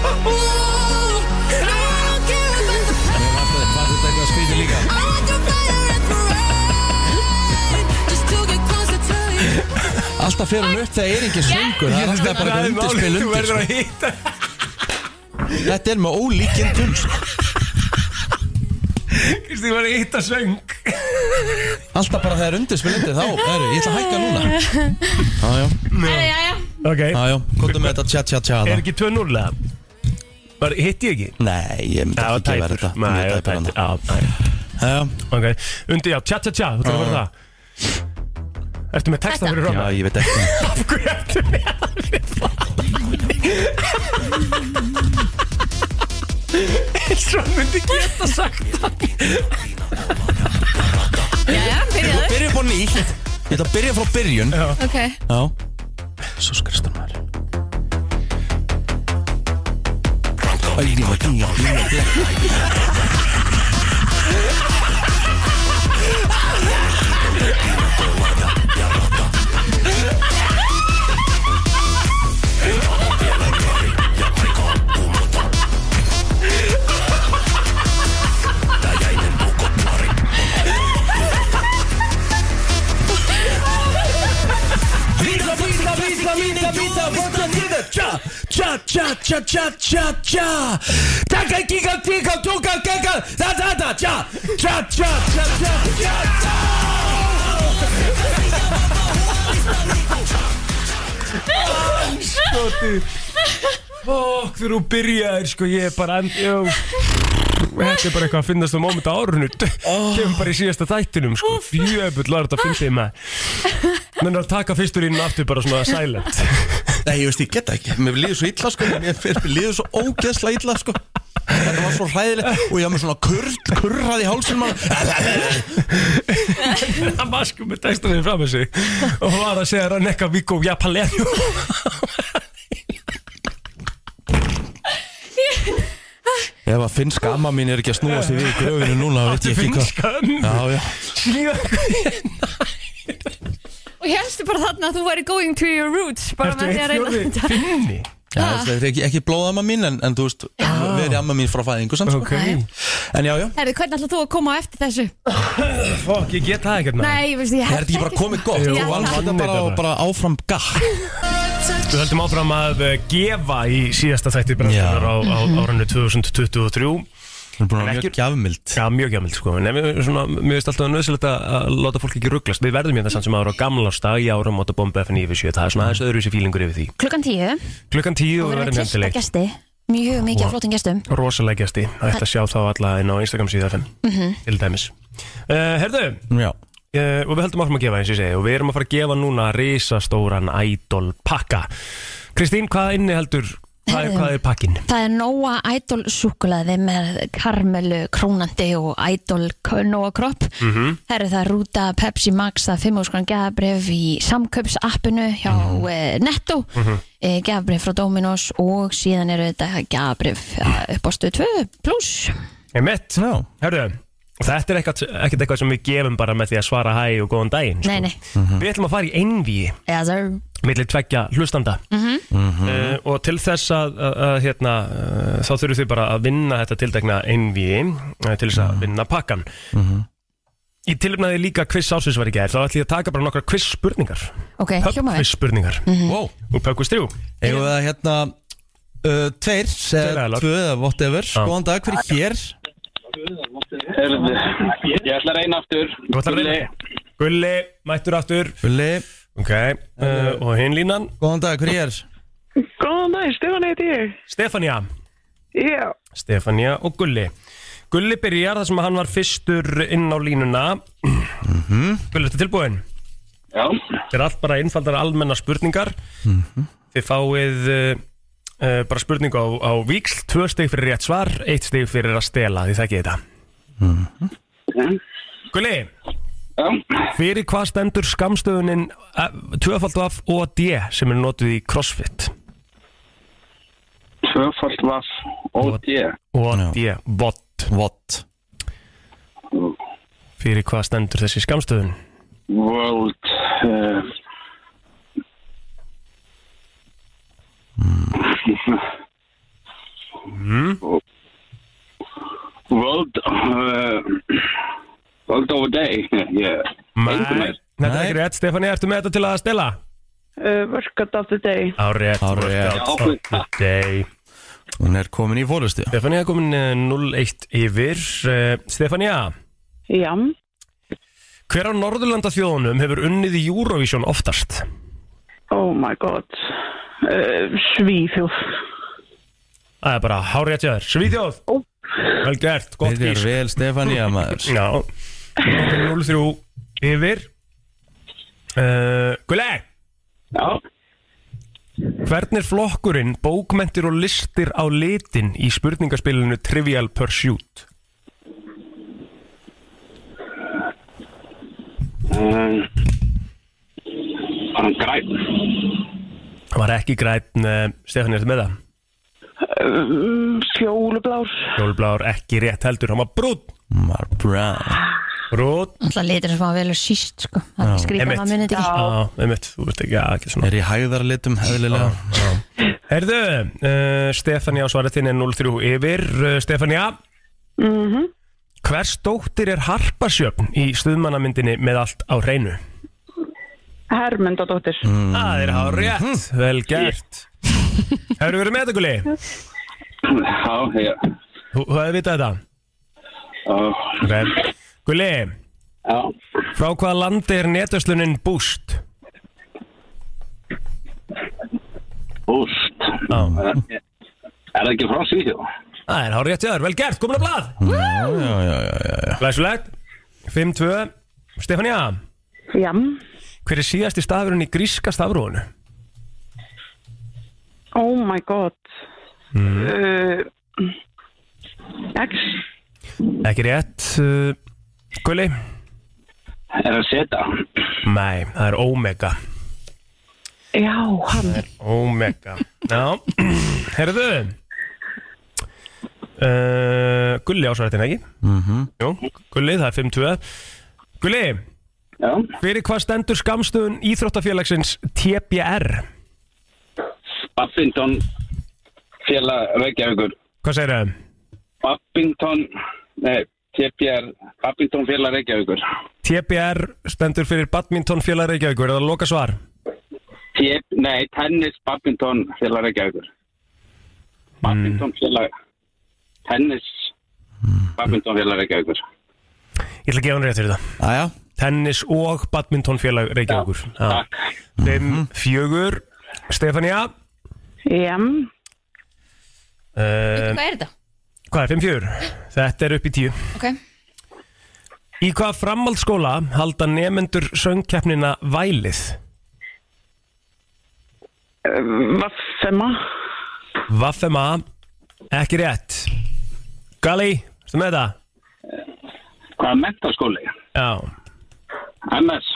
And I don't care about the
Var þetta eitthvað skrítið líka? Alltaf fer hún upp þegar er engin söngur Það er alltaf bara eitthvað undirspil
Þú
undir
verður
sko.
að hitta
Þetta er með ólíkindum sko.
Kristín verður að hitta söng
Alltaf bara þegar undirspil undir Þá, heru, ég ætla að hækka núna Já, já,
Ok
já, já Komdu með þetta tja tja tja
Er
það.
ekki 2-0 eða? Bara hitti ég ekki?
Nei, ég myndi
Það var
ekki gefa
tæpur
þetta
Nei,
Mjög
það var
tæpur
tæpur
hana.
Já,
Já, já. Ah.
ok Undi, já, tja tja tja Þú þarf að vera það Ertu með texta fyrir
Já,
Ronna?
ég veit ekki
Af hverju ertu með Svo myndi geta sagt
Já, já, byrjaðu
Byrja upp á nýtt Ég ætla að byrja frá byrjun Já,
Ok,
Svo skristur maður Æ, ég var dýja, dýja, dýja Vita, vita, vita, vita, vita, vita, vita, tja, tja, tja, tja, tja, tja, tja Taka, kika, kika, tuka, kika, da, da, da, tja, tja, tja, tja, tja, tja, tja
Skoti Fokk, þegar þú byrjaðir sko Ég er bara en, jó Þetta er bara eitthvað að finnast á móment á árunu Kemur bara í síðasta þættinum sko Jöfull var þetta að finna þig með Menn að taka fyrstur inn aftur bara svona silent
Nei, ég veist, ég geta ekki, mér líður svo illa, sko Mér mér líður svo ógeðsla illa, sko Þetta var svo hræðilegt og ég haf með svona kurr, kurrað í hálsinn maður
Það var sko með textan við fram þessu Og var að segja rann eitthvað Víkó, já, palerjó
Ef að finnsk amma mín er ekki að snúa sig við í gröfinu núna, þá veit ég ekki hvað
Finskan
Já, já
Síðan
og ég helstu bara þarna að þú væri going to your roots bara
Ertu
með því að
eitt
reyna
fjóði Finni
Já, það er ekki, ekki blóðamma mín en, en þú veist, verið amma mín frá fæðingu samt
Ok.
sko. En já, já
Herðu, hvernig ætlað þú að koma á eftir þessu?
Fokk, ég get það ekkert
Nei, ég veist, ég
Er þetta
held
ekki bara komið gott?
Jú,
Þú vannst þetta
hann veit
bara,
þetta.
og bara áfram gakk
Við höldum áfram að eh, gefa í síðasta þætti brennslunar
Já.
á, á
Mhm.
árunni 2023
Það er búin að
En
vera
ekki-
mjög gjafmild
Já, mjög gæmild sko En ef við svona, mér finnst alltaf nöðsilegt að- að láta fólk ekki rugglast Við verðum hérna samt sem ára á gamlársdag í árum átta bomba FN yfir 7 Það er svona aðeins öðruvísi fílingur yfir því
Klukkan tíu og
Klukkan 10
við
og við
verðum að
verðum
kista
hendileg
gæsti mjög mikið af flottum gæstum
Rosalega gæsti, það ætti að sjá þá alla inn á Instagram síða FN
Mhm.
Til dæmis uh, Herðu,
Já
Eh, og við heldum áfram að gefa eins og ég segi og við erum að fara að gefa núna risastóran idol pakka Kristín, hvað inni heldur, hvað er, hvað er pakkin?
Það er Nóa Idol súkulaði með karmelu krónandi og Idol k- Nóa kropp.
Mm -hmm.
Herri það er rúta Pepsi Max það er 5 úrskan geðabrif í samköpsappinu hjá mm Netto mm
Mhm.
-hmm. geðabrif frá Dominos og síðan eru þetta geðabrif upp á stöð 2 pluss
Sko. Emitt, no. herðu, þetta er ekkert, ekkert eitthvað sem við gefum bara með því að svara hæ og góðan daginn sko.
Nei, Mhm. nei,
Við ætlum að fara í einvíi
eða það er
millir tveggja hlustanda
Mhm.
uh, og til þess að, að, að hérna, uh, þá þurfum þið bara að vinna þetta tiltekna einvíi uh, til þess að vinna pakkan Ég tilfnaði líka quiz ásins var í gær þá ætlum ég að taka bara nokkra quiz spurningar
Ok, hljóma við
quiz spurningar
Mhm.
wow.
og pökkus þrjú
Eða það hérna uh, Tveir, eða tvö, eða whatever Góðan dag, hver er hér?
Herðu, ég ætla að reyna aftur
Þú ætlar að reyna? Gulli, mættur aftur
Gulli
Ok, uh, og hinn línan
Góðan dag, hver er?
Góðan dag, Stefán heiti ég.
Stefania
Já.
Stefania og Gulli Gulli byrjar þar sem að hann var fyrstur inn á línuna Gulli, þetta tilbúin?
Já
Þetta er allt bara einfaldar almennar spurningar Þið fáið uh, bara spurningu á, á víksl Tvö stig fyrir rétt svar, eitt stig fyrir að stela Þið þekkið þetta Gulli Fyrir hvað stendur skamstöðunin tvöfaldaf og D sem er notuð í CrossFit?
Tvöfald vaff og ég
og D, VOT
VOT
Fyrir hvað stendur þessi skamstöðun?
World
eh.
uh, Hmm? World uh, World of a Day yeah.
Nei, þetta er ekki rétt Stefania, ertu með þetta til að stela?
Eh,
Uh, workout of the day.
Árétt,
Hárrétt.
Day
Hún er komin í fólustu
Stefania komin eh, 0-1 yfir Eh, Stefania
Já.
Hver á Norðurlanda þjóðunum hefur unnið í Eurovision oftast?
Oh my god. Uh, Svíþjóð.
Það er bara hárétt hjá þér Svíþjóð Vel gert, gott
Þetta er
gís
vel Stefania maður
Já 0-3 yfir uh, Gulli
Já
Hvern er flokkurinn bókmentir og listir á litin í spurningaspilinu Trivial Pursuit?
um, Hann græn
Það var ekki græn, uh, Stefán, er þetta með það?
Uh, fjólublár.
Fjólblár ekki rétt heldur, hann var brún
Mar brown
Brún
Alltaf litur sem að velur síst sko. Það er skrýta, maður munið þetta ekki
Já, einmitt, þú veist ekki, já, ekki svona
Er í hæðarlitum, heðlilega
Herðu, uh, Stefania á svaretinn er 0-3 yfir uh, Stefania
Mm -hmm.
Hvers dóttir er harpasjöfn í stuðmannamyndinni með allt á hreinu?
Hermundadóttir.
Mhm.
Það er hár rétt, vel gert Hefur verið með þetta, Gulli?
Já, já
Þú þú hefði vitað þetta?
Oh,
Ok. Gulli Frá hvaða landi er netverslunin Boost?
Úst Er það ekki frá Svíþjóð?
Það er hár rétt hjá þér, vel gert, komin að blað
Mhm. Já, já, já, já, já.
Læsulegt 5-2 Stefania
Já.
Hver er síðasti stafurinn í gríska stafrónu?
Oh my god. Uh, X.
Ekki rétt uh, Gulli?
Er það seta?
Nei, það er Omega
Já, hann.
Omega Já, herðu uh, Gulli ásvarættin ekki?
Mhm.
Jú, Gulli, það er 5-2 Gulli
Já.
Fyrir hvað stendur skamstöðun Íþróttafélagsins TBR?
Baffington Félag Reykjavíkur
Hvað segir það?
Baffington Nei, TPR Baffington Félag Reykjavíkur
TBR stendur fyrir badmintonfélag Reykjavíkur, er það loka svar?
TP, Nei, Tennis Baffington Félag Reykjavíkur Baffington Félag Tennis Baffington Félag Reykjavíkur
Ég ætla að gefa hann rétt fyrir það
Aja.
Tennis og badmintonfélag Reykjavíkur Já. Fimm, fjögur Stefania
Já.
uh,
Hvað er þetta?
eh, Hvað er fimm, fjögur? Þetta er upp í tíu
Ok,
Í hvaða framhaldsskóla halda nefendur söngkeppnina Vælið?
Eh, Vaffema
Vaffema, ekki rétt Gali, erstu með það?
Hvað mentaskóli?
Já
MS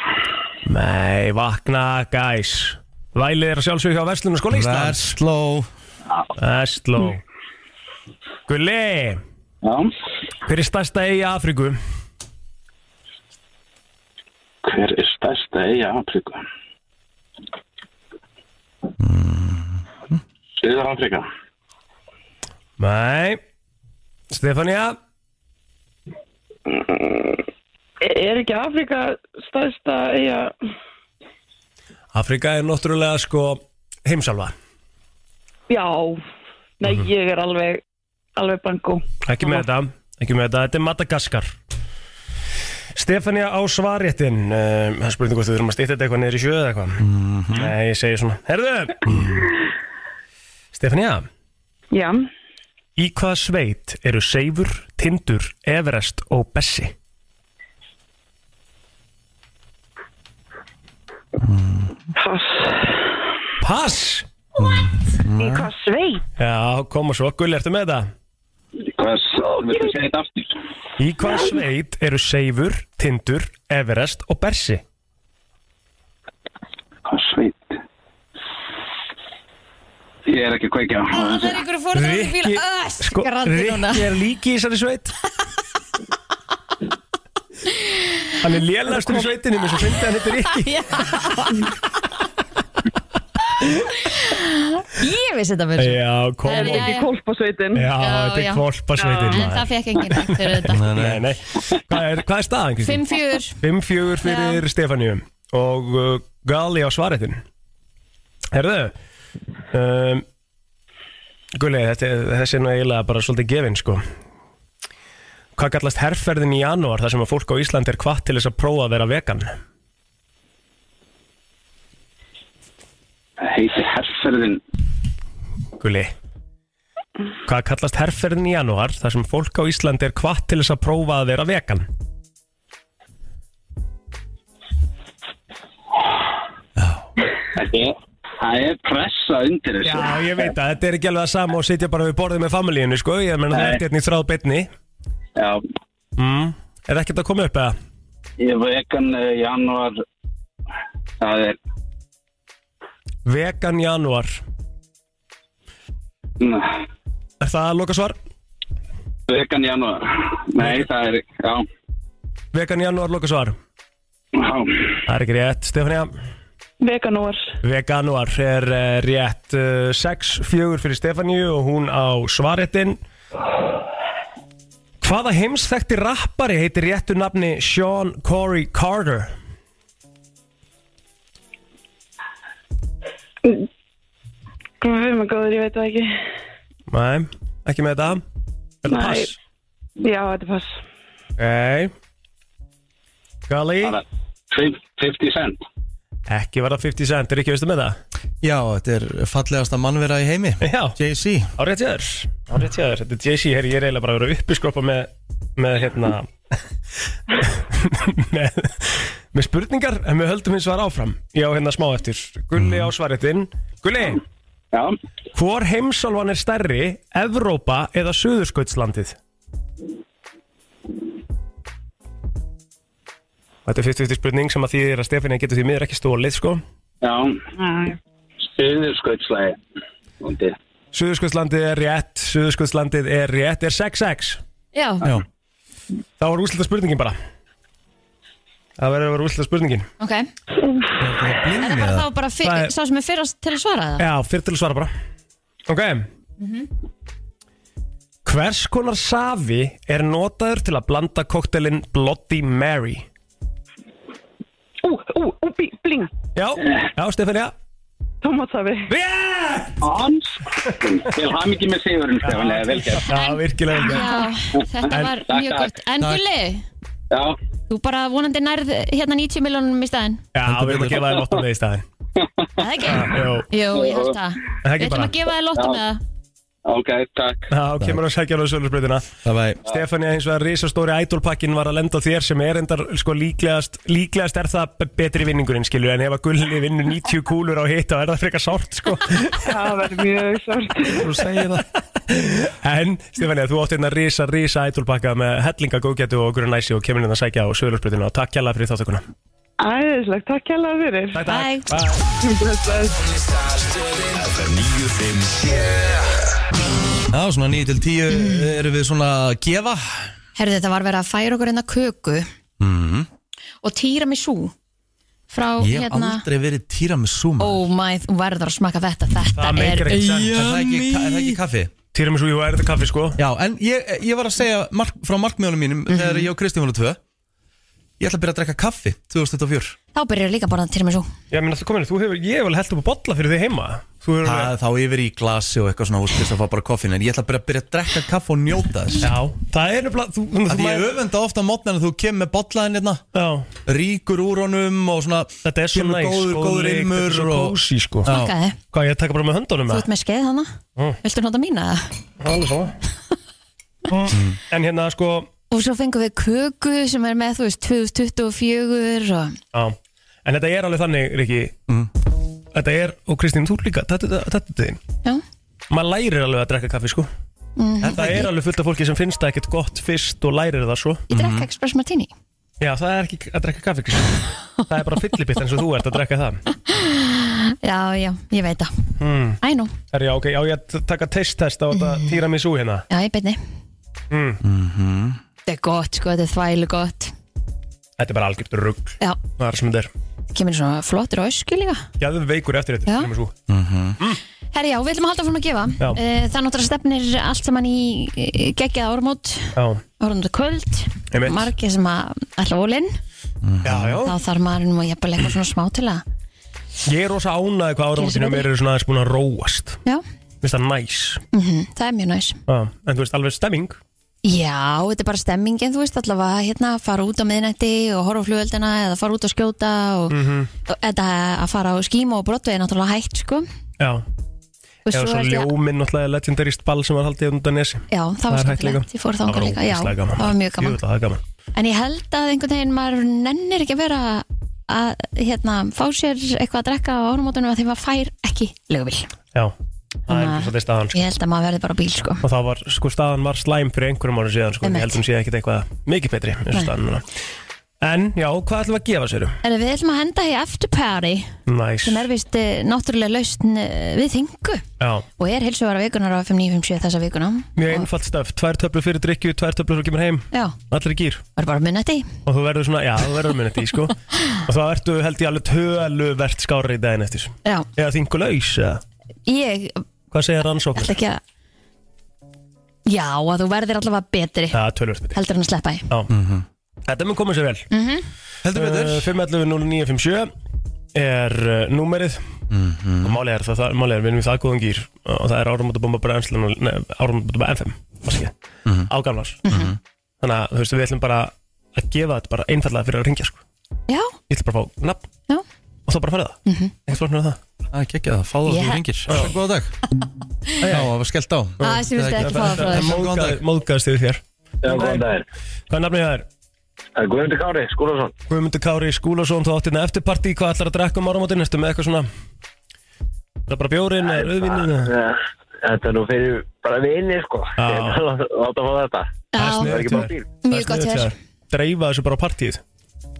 Nei, vakna, gæs Vælið er að sjálfsögja hjá Vestlunarskóla Íslands
Vestló
Vestló Gulli
Já
Hver er stærsta eigi Afríku?
Hver er stærsta eiga Afríku? Mm-hmm. Suður Afríka
Nei Stefania
Er ekki Afrika stærsta eiga
Afrika er náttúrulega sko heimsálfa
Já, nei ég er alveg alveg banko
Ekki með þetta, ekki með þetta, þetta er Madagaskar Stefania á svaréttin um, Það er spurning hvort við þurfum að stýta þetta eitthvað niður í sjö eða eitthvað Nei, ég segi svona Herðu Stefania
Já
Í hvaða sveit eru Seifur, Tindur, Everest og Bessi? Pass Pass?
Í hvað sveit?
Já, koma svo, Gulli, ertu með þetta?
Hvað viltu segja þetta aftur?
Í hvað sveit eru Seifur, Tindur, Everest og Bersi?
Hvað sveit? Ég er ekki að kveikja
Það er ykkur fórðan bíl
Rikki-
Öss,
sko,
grandi núna
Rikki er líki í þessari sveit Hann er lélægastur í sveitinni með svo fyndi hann heitir Rikki
Já. Ég vissi þetta mér
Já, kom
Það er ekki
kólpasveitin
Já, þetta
já.
er kvolpa sveitin
En það fekk enginn neitt fyrir þetta
Nei, nei, nei Hvað er, hvað er staðan, Kristín?
5-4
5-4 fyrir Stefaníu Og uh, Gali á svaretin Herðu um, Gulli, þetta, er- þessi er nú eiginlega bara svolítið gefin, sko Hvað kallast herrferðin í janúar þar sem að fólk á Íslandi er hvatt til þess að prófa að vera vegan?
Heiti herrferðin
Gulli Hvað kallast herrferðin í janúar þar sem fólk á Íslandi er hvatt til þess að prófa að vera vegan?
Þetta er Það er pressa undir þessu
Já, ég veit að þetta er ekki alveg að sama og sitja bara við borðið með familíinu, sko Ég meina það
Nei.
ert hérna í þráð betni
Já,
mm. Er ekkert að koma upp eða?
ég er vegan uh, januar Það er
Vegan januar
na,
Er það að loka svar?
vegan januar Nei, það er Já,
Vegan januar loka svar
já
Það er ekki rétt, Stefania
Veganúar
Veganuar er eh, rétt uh, 6-4 fyrir Stefaníu og hún á svaretin Hvaða heimsþekti rappari heitir réttu nafni Sean Corey Carter?
Við erum að góður, ég veit það ekki
Nei, ekki með þetta Er það
Nei.
pass?
Já, þetta er pass
Nei Gali?
50 cent
Ekki var það 50 cent, er ekki veistu með það?
Já, þetta er fallegasta mannvera í heimi
Já
JC
Á rétt jáður Á rétt jáður, þetta er JC hér, ég er eiginlega bara að vera uppi skoppa með, með hérna með, með spurningar en við höldum hins var áfram Já, hérna smá eftir Gulli á svaretinn Gulli
Já
Hvor heimsálfan er stærri, Evrópa eða Suðurskautslandið? Þetta er 50-50 spurning sem að því er að Stefania getur því miður ekki stólið sko
Já, stuður skautslæði Undir
Suðurskautslandið er rétt, Suðurskautslandið er rétt, er 6-6
Já,
Já Það var úrslita spurningin bara Það verður að vera úrslita spurningin
ok
Er
Það var þá bara fyr,
Það er-
sá sem er fyrast til að svara það
Já, fyrir til að svara bara Ok Hvers konar safi er notaður til að blanda koktelin Bloody Mary?
Ú, ú, ú, bí, bling
Já, já, Stefania
Tómatsafi
Rétt
Hans Til hamingi með sigurinn, Stefán, eða velgerð
Já, virkilega vel gert.
Já, þetta
En-
var
Takk,
mjög
takk.
gott En
Takk.
Gulli,
Já,
þú bara vonandi nærð hérna 90 miljónum í staðinn
Já, við erum að gefa þér lottum með í staðin
Það er ekki?
Jó,
Jú, ég held það
Það er
Við
ekki
ætlum
bara
að gefa þér lottum með það
Ok, takk
Já, kemur að sækja hann á sölusbreytina Stefania hins vegar risastóri ædolpakkin var að lenda á þér sem er endar sko líklegast líklegast er það be- betri vinningurinn skilur en hefa gulli vinnu 90 kúlur á hitt og er það frekar sárt sko
Það verður mjög sárt
Þú segir það En Stefania, þú átti hérna risa, risa ædolpakka með hellinga góðgætu og okkur næsi og kemur hérna að sækja á sölusbreytina og takk kjalla fyrir þáttökuna
Æðislegt, takk kjalla fyrir
Takk,
takk Bye Bless, bless
FM 957
Já, svona 9 til 10 erum við svona að gefa
Herðu, þetta var verið að færa okkur hérna köku
mm.
og týra mig sú frá
Ég hef
hérna
aldrei verið týra með súma
Oh my, þú verður að smaka þetta Þetta
Það
er
meikar ekkert sens. Er það ekki-
yummy.
er það ekki kaffi?
Týra með svo, jú, er þetta kaffi sko
Já, en ég, ég var að segja mark, frá markmjónum mínum
Mhm.
þegar ég og Kristín voru tvö Ég ætla að byrja að drekka kaffi 2004
Þá byrjar líka að borða týra mig sú
Já, menn alltaf komin, þú hefur, ég hef alveg held upp að bolla fyrir þig heima Þú hefur
Það, þá yfir í glasi og eitthvað svona húst til þess að fá bara koffin en ég ætla bara að byrja að drekka kaff og njóta þess
Já, það er nefnilega þú, þú,
Því ég öfenda ofta mótnar en þú kemur með botlaðin hérna
Já.
Ríkur úr honum og svona
Þetta er svo
kemur
næs,
góður,
góð
góður
lykt, þetta er
ilmur
svo
og-
kósí, sko.
Já.
Smakkaði.
Hvað, ég taka bara með höndunum
Þú
eða?
ert með skeið hana
Mm.
Viltu nota mína?
Alveg svo mm. En hérna sko
Og svo fengum við köku sem er með, þú veist, 2024 og...
á, En þetta er alveg þannig, Riki Þetta er, og Kristín, þú líka Þetta þetta- þetta er þinn
Já.
Maður lærir alveg að drekka kaffi sko
Mhm.
Þetta er alveg fullt af fólki sem finnst það ekkert gott fyrst og lærir það svo
Ég drekka Express Martini
Já, það er ekki að drekka kaffi Kristín Það er bara fyllibitt eins og þú ert að drekka það
Já, já, ég veit það
mm.
Æ nú,
Er já, ok, já, ég að taka taste test á þetta
Mhm.
Týra mig svo hérna
já, ég beinni
mm. Mm -hmm.
Þetta er gott, sko, þetta er þvælu gott
Þetta er bara algjört rugg
Já,
Það er sem þetta er
það kemur svona flottur ösku líka
Já, þau veikur eftir þetta
Já.
Týra mig svo mm -hmm.
Herri, já, við ætlum að halda fórum að gefa
Já.
Eh, Það er náttúrulega stefnir allt saman í eh, geggjað áramót
Já
Áramót og kvöld
Einmitt.
Margir sem að ætla ólinn
Já, já
Mhm. Þá þarf maður nú að jafnvel eitthvað svona smá til að
Ég er rosa ánaði hvað áramótinu mér eru svona aðeins búin að róast
Já,
Vist það næs
mm það er mjög næs
ah, En þú veist alveg stemming
Já, þetta er bara stemmingin, þú veist allavega hérna, fara út á miðnætti og horfa á flugöldina eða fara út að skjóta og, mm
Mhm.
og þetta að fara á skíma og brotu er náttúrulega hægt, sko
Já
Og
Ég
svo
var svo
held ég-
ljóminn náttúrulega legendarist ball sem var haldið undan nesi
Já, það var
er hægt
skemmtilegt.
líka.
Ég fór þangað líka, já,
ógeðslega gaman.
það var mjög gaman.
Jú, það var gaman
En ég held að einhvern veginn maður nennir ekki að vera að hérna, fá sér eitthvað að drekka á ánumótunum að því maður fær ekki legubil.
Já, það er
Þannig að-
svolítið staðan sko.
Ég held að maður verði bara á bíl sko.
Og það var, sko, staðan var slæm fyrir einhverjum árum síðan sko. en Ég
Einmitt.
held hún sé ekkit eitthvað mikið betri eins og
Nei.
staðan núna. En, já, hvað ætlum við að gefa sérum?
En við ætlum að henda í afterparty
Næs
sem er vist náttúrulega lausn eh, við þingu
Já
og er heilsuvara vikunar á 5957 þessa vikuna.
Mjög einfalt stöf, tvær töflur fyrir drikju, tvær töflur svo kemur heim
Já,
Allir í gýr
var bara minnetti.
Og þú verður svona, já, þú verður minnit í sko Og þá ertu held ég alveg töluvert skárið í daginn eftir
Já,
Eða þingulaus, eða
ég
Hvað segir rannsóknir?
ætla ekki að... Já, að þú verðir allavega betri
Það er tölvöld betri
heldur en að sleppa í.
Já Þetta mun koma sér vel
Mm
Mhm. Heldur betur.
uh, 511-0957 er uh, númerið
Mhm.
og málið er, það, það, málið er, við erum í það góðan gýr og það er áramótabomba brennslan og áramótabomba FM mm
Mhm.
-hmm. ágamlars þannig að þú veist, við ætlum bara að gefa þetta bara einfallega fyrir að ringja sko.
Já,
ég ætlum bara að fá nafn
Já.
og þá bara fara það mm -hmm. ekkert flóknir að það
Það er geggjað, fá það
Yeah.
þú ringir Það er góða dag Já, það var skellt á
Aðeins, ég vildi ekki fá það frá þér.
Móðgæðast yfir þér
Já, góðan daginn.
Hvað er nafnið það er?
Það er Guðmundur Kári, Skúlason
Guðmundur Kári Skúlason, þú átt hérna eftirparti Hvað ætlar að drekka um áramótin? Ertu með eitthvað svona Það er bara bjórin eða rauðvinni
Þetta er nú fyrir bara vini, sko Ég er að Láta fá þetta
Það
er ekki bara bíl
Mjög gott hjá þér.
Dreifa þessu bara á partíð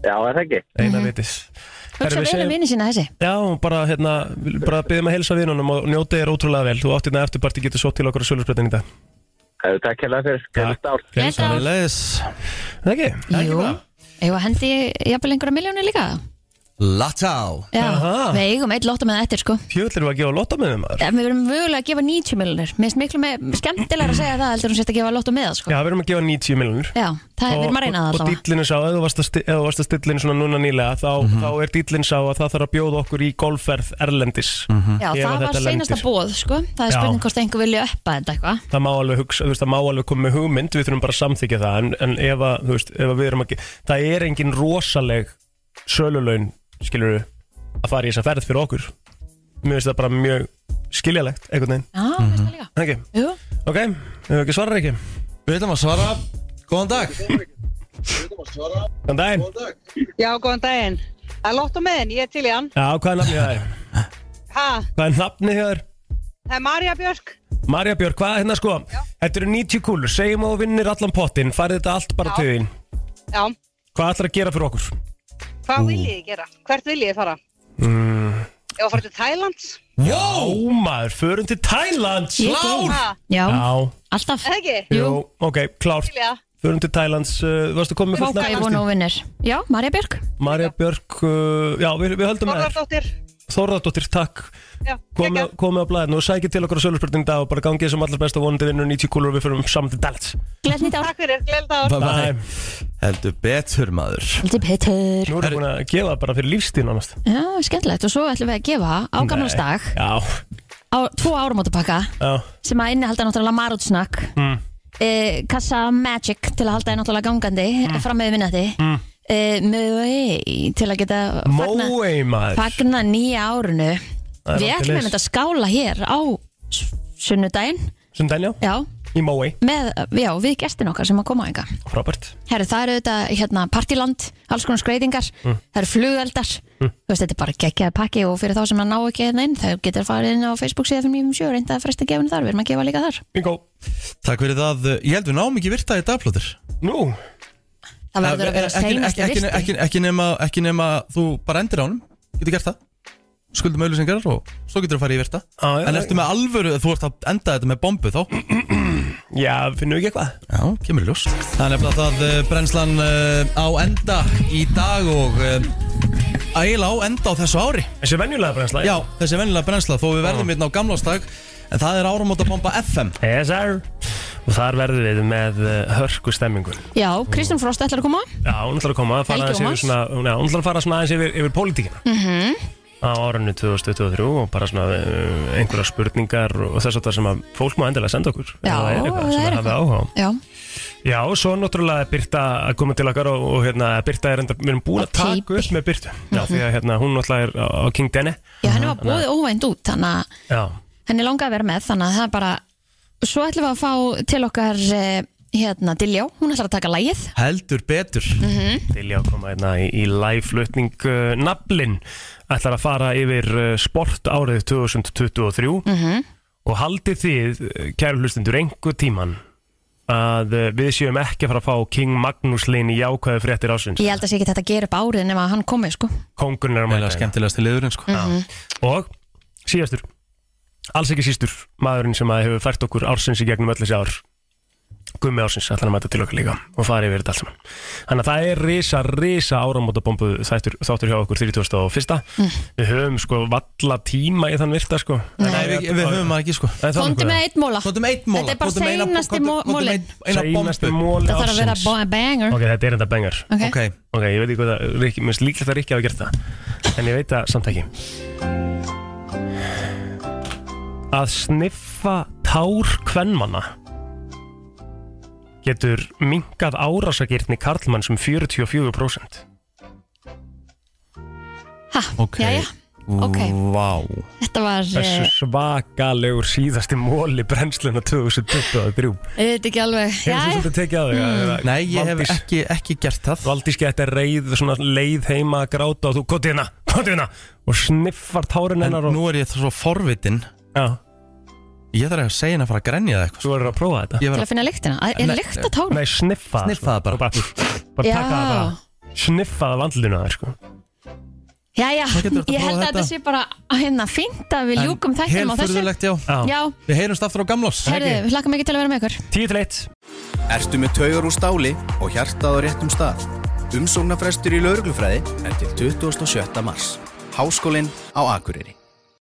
Já, er það ekki
Eina
Mhm.
vitis Herra,
Hugsa
við
vel um
segjum-
vini sína þessi.
Já, bara hérna vil Bara byggjum að helsa vinunum og njóti þér ótrúlega vel Þú átt hérna eftirparti getur svo til okkur á sölusbreytin í dag
Það er takk hérna fyrir Gleðist ár
Gleðilegt ár.
Leðis
Það ekki?
Jú, eigum að hendi jafnvel einhverja miljónir líka
Lattá
Já,
Aha.
við eigum eitt lótta með það eftir sko
Fjöldlir var að gefa lotta með þeim maður
Eh, Við verum mögulega að gefa 90 miljónir Mér finnst miklu með, skemmtilega að segja það heldur hún sérst að gefa lótta með það sko
Já, við erum að gefa 90 miljonur
Já, það er, við erum að reyna það
Og
allavega
dýllinu sá, ef þú varst að sti- ef þú varst að stilla inn svona núna nýlega þá, þá er dýllin sá að það þarf að bjóða okkur í golfferð erlendis
Já,
Ef að
það var
þetta
seinasta
lendir.
bóð sko Það er
Já.
spurning hvort einhver vilja uppa þetta eitthvað
Það má alveg hugsa, þú veist, það má alveg koma með hugmynd Við þurfum bara að samþykja það En, en ef, að, þú veist, ef að við erum ekki Það er engin rosaleg sölulaun skilur að fara í þessa ferð fyrir okkur Mér finnst það bara mjög skiljalegt, einhvern veginn
Já, mm -hmm. líka
Ok,
Jú.
ok, hefur ekki svarað ekki
Við ætlum að svara, góðan dag
Góðan daginn
Já, góðan daginn. Það er lott á meðin, ég er til í hann.
Já, hvað er nafnið hjá þér?
Ha,
Hvað er nafnið hjá þér?
það er Marja Björk.
Marja Björk, hvað er hérna sko? Þetta eru 90 kúlur, segjum að þú vinnir allan pottin, farið þetta allt bara
Já.
til þín
Já,
Hvað ætlar að gera fyrir okkur?
hvað viljið þið gera? Hvert viljið þið fara?
Mm.
Ég var að fara til Thailands.
Wow, maður, förum til Thailands
Ég er góð. Ha?
Já.
Já.
Alltaf
Eða ekki?
Jú, ok, klárt
Til í það.
Förum til Thælands, uh, varstu komið með fullt
Fóka,
nafn,
ég vonu
Kristín?
og vinnir Já, Marja Björk
Marja Björk, uh, já, við, við höldum með þér
Þorðardóttir.
Þorðardóttir, takk
Já,
komið komi á blæðinu og sækið til okkur á söluspörning dag og bara gangið sem allar best og vonandi vinnur 90 kúlur og við förum saman til Dallas
Gleðn í dag
Takk fyrir, gleðið ár.
Bye.
Heldur betur maður
Heldur betur
Nú erum við búin að gefa það bara fyrir lífstíð nánast
Já, skemmtilegt og svo ætlum við að gefa á gamlansdag
Nei. Já,
á tvo áramótapakka
já
sem að innihalda náttúrulega marútsnakk
mm.
e, kassa Magic til að halda þér náttúrulega gangandi fram með vinnati mm. e, Mói til að geta fagna,
Mói maður
fagna nýja árunu
Það er
Við ætlum
aldeilis.
einmitt að skála hér á s- sunnudaginn
Sundan já,
Já,
í Mói,
með, já við gestin okkar sem að koma enga
Robert
Herru, það eru þetta hérna, partiland, alls konar skreitingar,
Mm.
það eru flugeldar, þú veist, þetta er bara geggjaði pakki og fyrir þá sem að ná ekki hérna inn, þau getur farið inn á Facebook síðan 597 og reynda að fresta gefinu þar, við erum að gefa líka þar.
Bingo
Takk fyrir það, ég held við náum ekki virta í dagplótur
Nú
Það verður að vera
Ekki-
seinasti
ekki, ekki,
virti.
ekki, ekki, nema, ekki nema þú bara endir á honum Getur gert það Skuldum auðlýsingar og svo getur þú farið í virta
Já, já,
En
já.
ertu með alvöru, þú ert að enda þetta með bombu þá
Já, finnum við ekki eitthvað
Já, kemur í ljós Það er nefnilega það eh, brennslan eh, á enda í dag og eh, eiginlega á enda á þessu ári
Þessi venjulega brennsla
Já, þessi venjulega brennsla þó við verðum hérna á gamlástag en það er áramótabomba FM
Yes sir Og þar verðum við með uh, hörku stemmingu
Já, Kristján Frost ætlar að koma.
Já, hún ætlar að koma að fara
Helgi
aðeins yfir
Ómars.
svona, hún já, hún ætlar að fara svona aðeins yfir, yfir pólitíkina
Mm
Mhm. á árunni 2023 og bara svona uh, einhverja spurningar og þess að það sem að fólk má endilega senda okkur
Já,
Ef það er eitthvað sem það hafi áhuga á.
Já,
Já, og svo náttúrulega Birta að koma til okkar og, og hérna, Birta er enda, við erum búin að taka upp með Birtu Já, því að hérna, hún náttúrulega er á, á King Denny
já henni var bóðið óvænt út, þannig að
Já,
henni langaði að vera með, þannig að það er bara, svo ætlum við að fá til okkar, eh, hérna, Diljó, hún ætlar að taka lægið.
Heldur betur
Mm
til ég að koma hérna í, í live-flutning uh, Nablin ætlar að fara yfir uh, sport árið 2023
Mhm.
og haldið þið, uh, kæru hlustendur, einhver tíman að uh, við séum ekki að fara að fá King Magnús Lin í jákvæðu fréttir ásins
Ég held að sé ekki þetta að gera upp árið nema að hann komi, sko.
Kongurinn er að mæta
skemmtilegast til liðurinn sko.
Mhm.
Og síðastur, alls ekki sístur maðurinn sem að hefur fært okkur ársins í gegnum öll þessi ár Gummi ársins ætlar að mæta til okkar líka og fara yfir þetta allt saman Þannig að það er risa, risa áramótabombu þáttur, þáttur hjá okkur 31.
Mm.
Við höfum sko valla tíma í þann virta sko
Nei, við, við höfum það ekki sko
Komdu með eitt móla.
Komdu með eitt móla.
Þetta er bara
Komdu með eina-
seinasti
komdu-
mó-
komdu með
móli.
einn- eina
Seinasti
bombu.
móli
Það þarf að vera
ársins.
bo- banger.
Ok, þetta er enda bengar
Ok.
Ok.
ok, ég veit ekki hvað það Rikki- Mér finnst líklegt að Rikki hafa gert það En ég veit það samt ekki Að sniffa tár kvenmanna Getur minkað árásagirtni karlmanns um 44%
Ha,
okay.
jæja, ok.
Vá
Þetta var,
Þessu
eh,
svakalegur síðasti móli brennsluna 2023
ég veit ekki alveg,
Hefur þú
jæja.
svolítið tekið á þig? Mm.
Nei, ég hef ekki, ekki gert það
Valdís geta reið, svona leið heima að gráta og þú, gott hérna, gott hérna og sniffar tárin
En
hennar og
nú er ég svo forvitin
Já.
Ég þarf að segja henni að fara að grenja það eitthvað
Þú verður að prófa þetta
Til að finna lyktina. Að- Er lykt að tára?
Nei, sniffa það,
Sniffa það bara.
Og bara
Já.
taka það bara Sniffa það vandluna það sko
Jæja,
getur þetta
ég
prófað
held að
þetta.
þetta sé bara að hérna fínt að við ljúkum þættinum á þessu.
Helfurðulegt, já.
Já.
Við heyrumst aftur á gamlás
Herðu, við hlakka mikið til að vera með ykkur.
10 til 1
Ertu með taugar úr stáli og hjartað á réttum stað? Umsóknarfrestur í lauruglufræði er til 27. mars. Háskólinn á Akureyri.